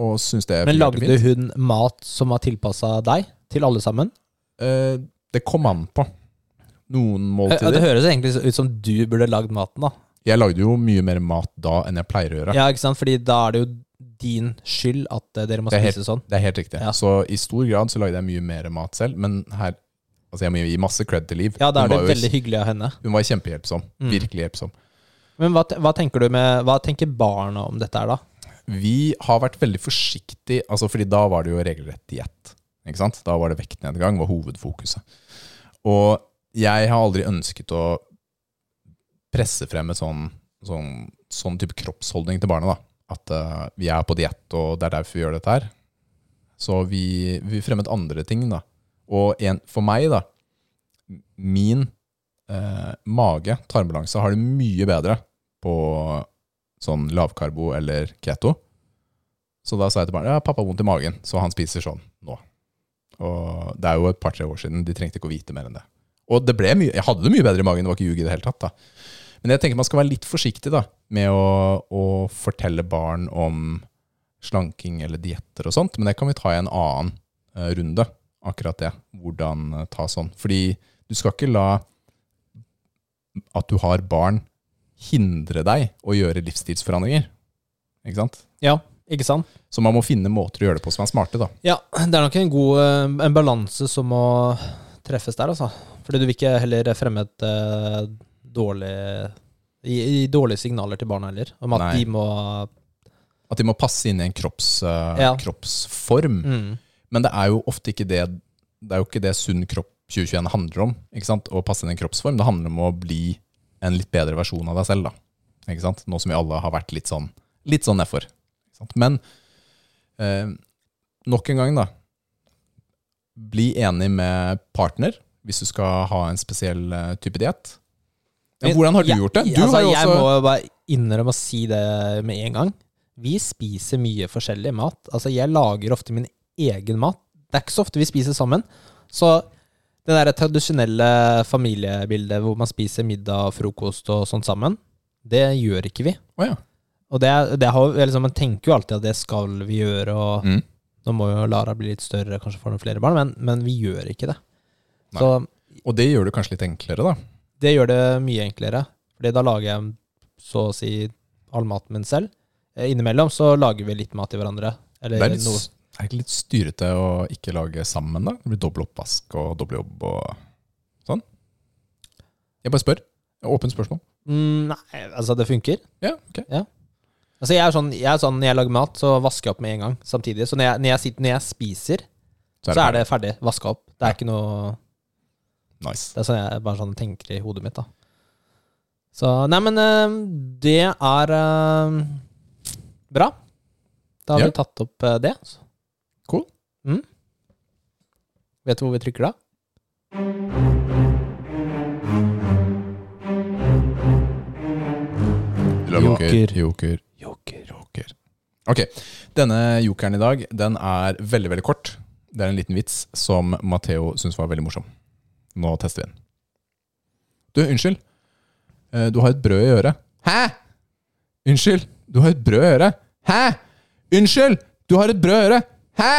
S2: Og syntes det
S1: Men
S2: fungerte
S1: lagde hun mat som var tilpassa deg? Til alle sammen?
S2: Eh, det kom an på. Noen
S1: Eh, Ja, Det
S2: måltider.
S1: høres egentlig ut som du burde lagd maten, da.
S2: Jeg lagde jo mye mer mat da enn jeg pleier å gjøre.
S1: Ja, ikke sant? Fordi da er det jo din skyld at eh, dere må
S2: Det er helt-
S1: spise sånn.
S2: Det er helt riktig.
S1: Ja.
S2: Så i stor grad så lagde jeg mye mer mat selv, men her Altså, jeg må gi masse cred til Liv.
S1: Ja, da er
S2: hun,
S1: det
S2: var jo-
S1: veldig hyggelig av henne.
S2: hun var kjempehjelpsom.
S1: Mm.
S2: Virkelig hjelpsom.
S1: Men hva, te- hva tenker du med Hva tenker barna om dette her, da?
S2: Vi har vært veldig forsiktige, altså fordi da var det jo regelrett diett. Ikke sant? Da var det vektnedgang var hovedfokuset. Og jeg har aldri ønsket å presse frem et sånn, sånn, sånn type kroppsholdning til barna. da. At eh, vi er på diett, og det er derfor vi gjør dette her. Så vi, vi fremmet andre ting, da. Og en, for meg, da Min eh, mage, tarmbalanse, har det mye bedre på sånn lavkarbo eller keto. Så da sa jeg til barnet ja, pappa har vondt i magen, så han spiser sånn nå. Og det er jo et par-tre år siden, de trengte ikke å vite mer enn det. Og det ble mye, jeg hadde det mye bedre i magen, det var ikke ljug i det hele tatt. da. Men jeg tenker man skal være litt forsiktig da, med å, å fortelle barn om slanking eller dietter og sånt, men det kan vi ta i en annen eh, runde, akkurat det. Hvordan eh, ta sånn. Fordi du skal ikke la at du har barn hindre deg å gjøre livsstilsforandringer. Ikke sant?
S1: Ja, ikke sant?
S2: Så man må finne måter å gjøre det på som er smarte, da.
S1: Ja, det er nok en god eh, en balanse som må treffes der, altså. Fordi du vil ikke heller fremme et eh, dårlig gi, gi dårlige signaler til barna heller, om at
S2: Nei.
S1: de må
S2: At de må passe inn i en kropps, eh,
S1: Ja.
S2: kroppsform.
S1: mm,
S2: Men det er jo ofte ikke det Det er jo ikke det sunn kropp 2021 handler om. Ikke sant? Å passe inn i en kroppsform. Det handler om å bli en litt bedre versjon av deg selv, da. Ikke sant? Nå som vi alle har vært litt sånn Litt sånn nedfor. Ikke sant? Men eh, nok en gang, da. Bli enig med partner hvis du skal ha en spesiell eh, type diett. Ja,
S1: Men
S2: hvordan har du
S1: jeg-
S2: gjort det? Du
S1: altså,
S2: har jo
S1: Jeg
S2: også
S1: må jo bare innrømme å si det med en gang. Vi spiser mye forskjellig mat. Altså, jeg lager ofte min egen mat. Det er ikke så ofte vi spiser sammen. Så det der tradisjonelle familiebildet hvor man spiser middag og frokost og sånt sammen, det gjør ikke vi.
S2: Å, ja.
S1: Og det, er- det har, jo- liksom, Man tenker jo alltid at det skal vi gjøre, og
S2: Mm.
S1: nå må jo Lara bli litt større, kanskje få noen flere barn, men, men vi gjør ikke det.
S2: Nei.
S1: Så
S2: Og det gjør det kanskje litt enklere, da.
S1: det gjør det mye enklere. Fordi da lager jeg så å si all maten min selv. Eh, Innimellom så lager vi litt mat til hverandre. Eller
S2: Det er, litt,
S1: noe.
S2: s- er det ikke litt styrete å ikke lage sammen, da? Det blir dobbel oppvask og dobbel jobb og sånn. Jeg bare spør. Det er Åpent spørsmål.
S1: Mm, nei, altså det funker.
S2: Ja, ok.
S1: Altså jeg er, sånn, jeg er sånn, Når jeg lager mat, så vasker jeg opp med en gang samtidig. Så når jeg, når jeg, sitter, når jeg spiser,
S2: Så
S1: så er det ferdig. Vaska opp. Det
S2: Ja.
S1: er ikke noe
S2: ferdig. Nice.
S1: Det er sånn jeg bare sånn tenker i hodet mitt, da. Så Nei, men eh, det er eh, bra. Da har
S2: Ja.
S1: vi tatt opp eh, det.
S2: Cool.
S1: Mm. Vet du hvor vi trykker da?
S2: Bra
S1: Joker.
S2: poker. Joker.
S1: <laughs> Joker.
S2: Joker. Ok, denne jokeren i dag, den er veldig, veldig kort. Det er en liten vits som Matheo syns var veldig morsom. Nå tester vi den. Du, unnskyld. Eh, Du har et brød i øret. Hæ? Unnskyld, du har et brød i øret. Hæ? Unnskyld, du har et brød i øret. Hæ?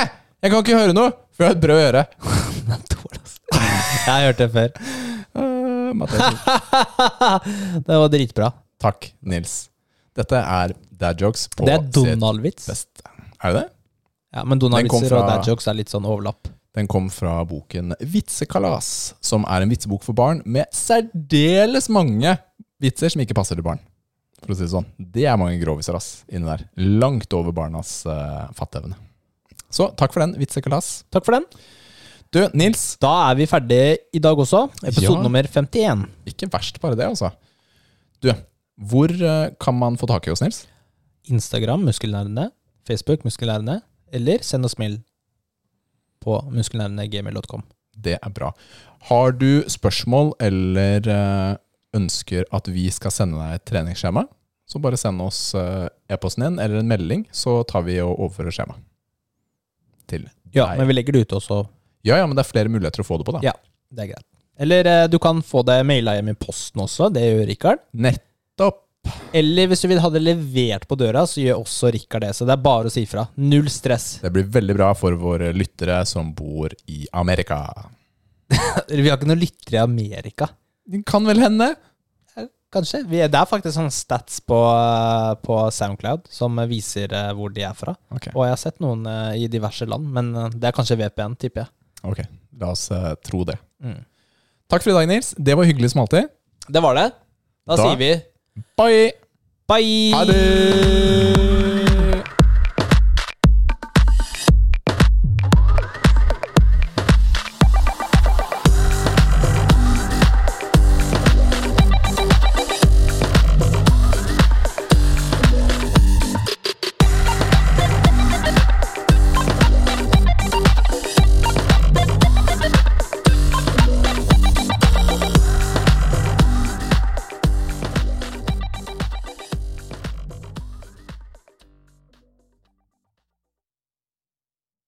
S2: Jeg kan ikke høre noe, for jeg har et brød i øret. <laughs>
S1: Den er dårlig, ass. <laughs> Jeg har hørt det før. <laughs>
S2: Eh, Matteo,
S1: det var dritbra.
S2: Takk, Nils. Dette er dad jokes på
S1: Det er
S2: sitt
S1: Donald-vits.
S2: beste. Er det det?
S1: Ja, men
S2: Den kom
S1: Donald-vitser
S2: fra-
S1: og dad jokes er litt sånn overlapp.
S2: Den kom fra boken Vitsekalas, som er en vitsebok for barn med særdeles mange vitser som ikke passer til barn. For å si det sånn. Det er mange groviser ass, inni der. Langt over barnas eh, fatteevne. Så takk for den, Vitsekalas.
S1: Takk for den.
S2: Du, Nils.
S1: Da er vi ferdige i dag også. Episode
S2: Ja.
S1: nummer 51.
S2: Ikke verst bare det, altså. Du, hvor eh, kan man få tak i oss, Nils?
S1: Instagram muskelnerdene, Facebook muskelnerdene, eller send oss mail på muskelnerdene.gmail.com.
S2: Det er bra. Har du spørsmål eller eh, ønsker at vi skal sende deg et treningsskjema, så bare send oss eh, e-posten din eller en melding, så tar vi og overfører skjemaet til deg.
S1: Ja, men vi legger det ut også.
S2: ja, ja, men det er flere muligheter å få det på, da.
S1: Ja, det er greit. Eller eh, du kan få det maila hjem i posten også, det gjør Rikard.
S2: Nettopp.
S1: Eller hvis du vil ha det levert på døra, så gjør også Rikard det. Så det er bare å si ifra. Null stress. <laughs>
S2: Det blir veldig bra for våre lyttere som bor i Amerika.
S1: Vi har ikke noen lyttere i Amerika.
S2: Det kan vel hende?
S1: Kanskje. Vi er, det er faktisk sånne stats på, eh, på Soundcloud som viser eh, hvor de er fra.
S2: Ok,
S1: Og jeg har sett noen eh, i diverse land, men eh, det er kanskje VPN, tipper jeg.
S2: ok. La oss eh, tro det.
S1: Mm.
S2: Takk for i dag, Nils. Det var hyggelig som alltid.
S1: Det var det. Da,
S2: Da-
S1: sier vi
S2: Bye!
S1: bye!
S2: Ha det!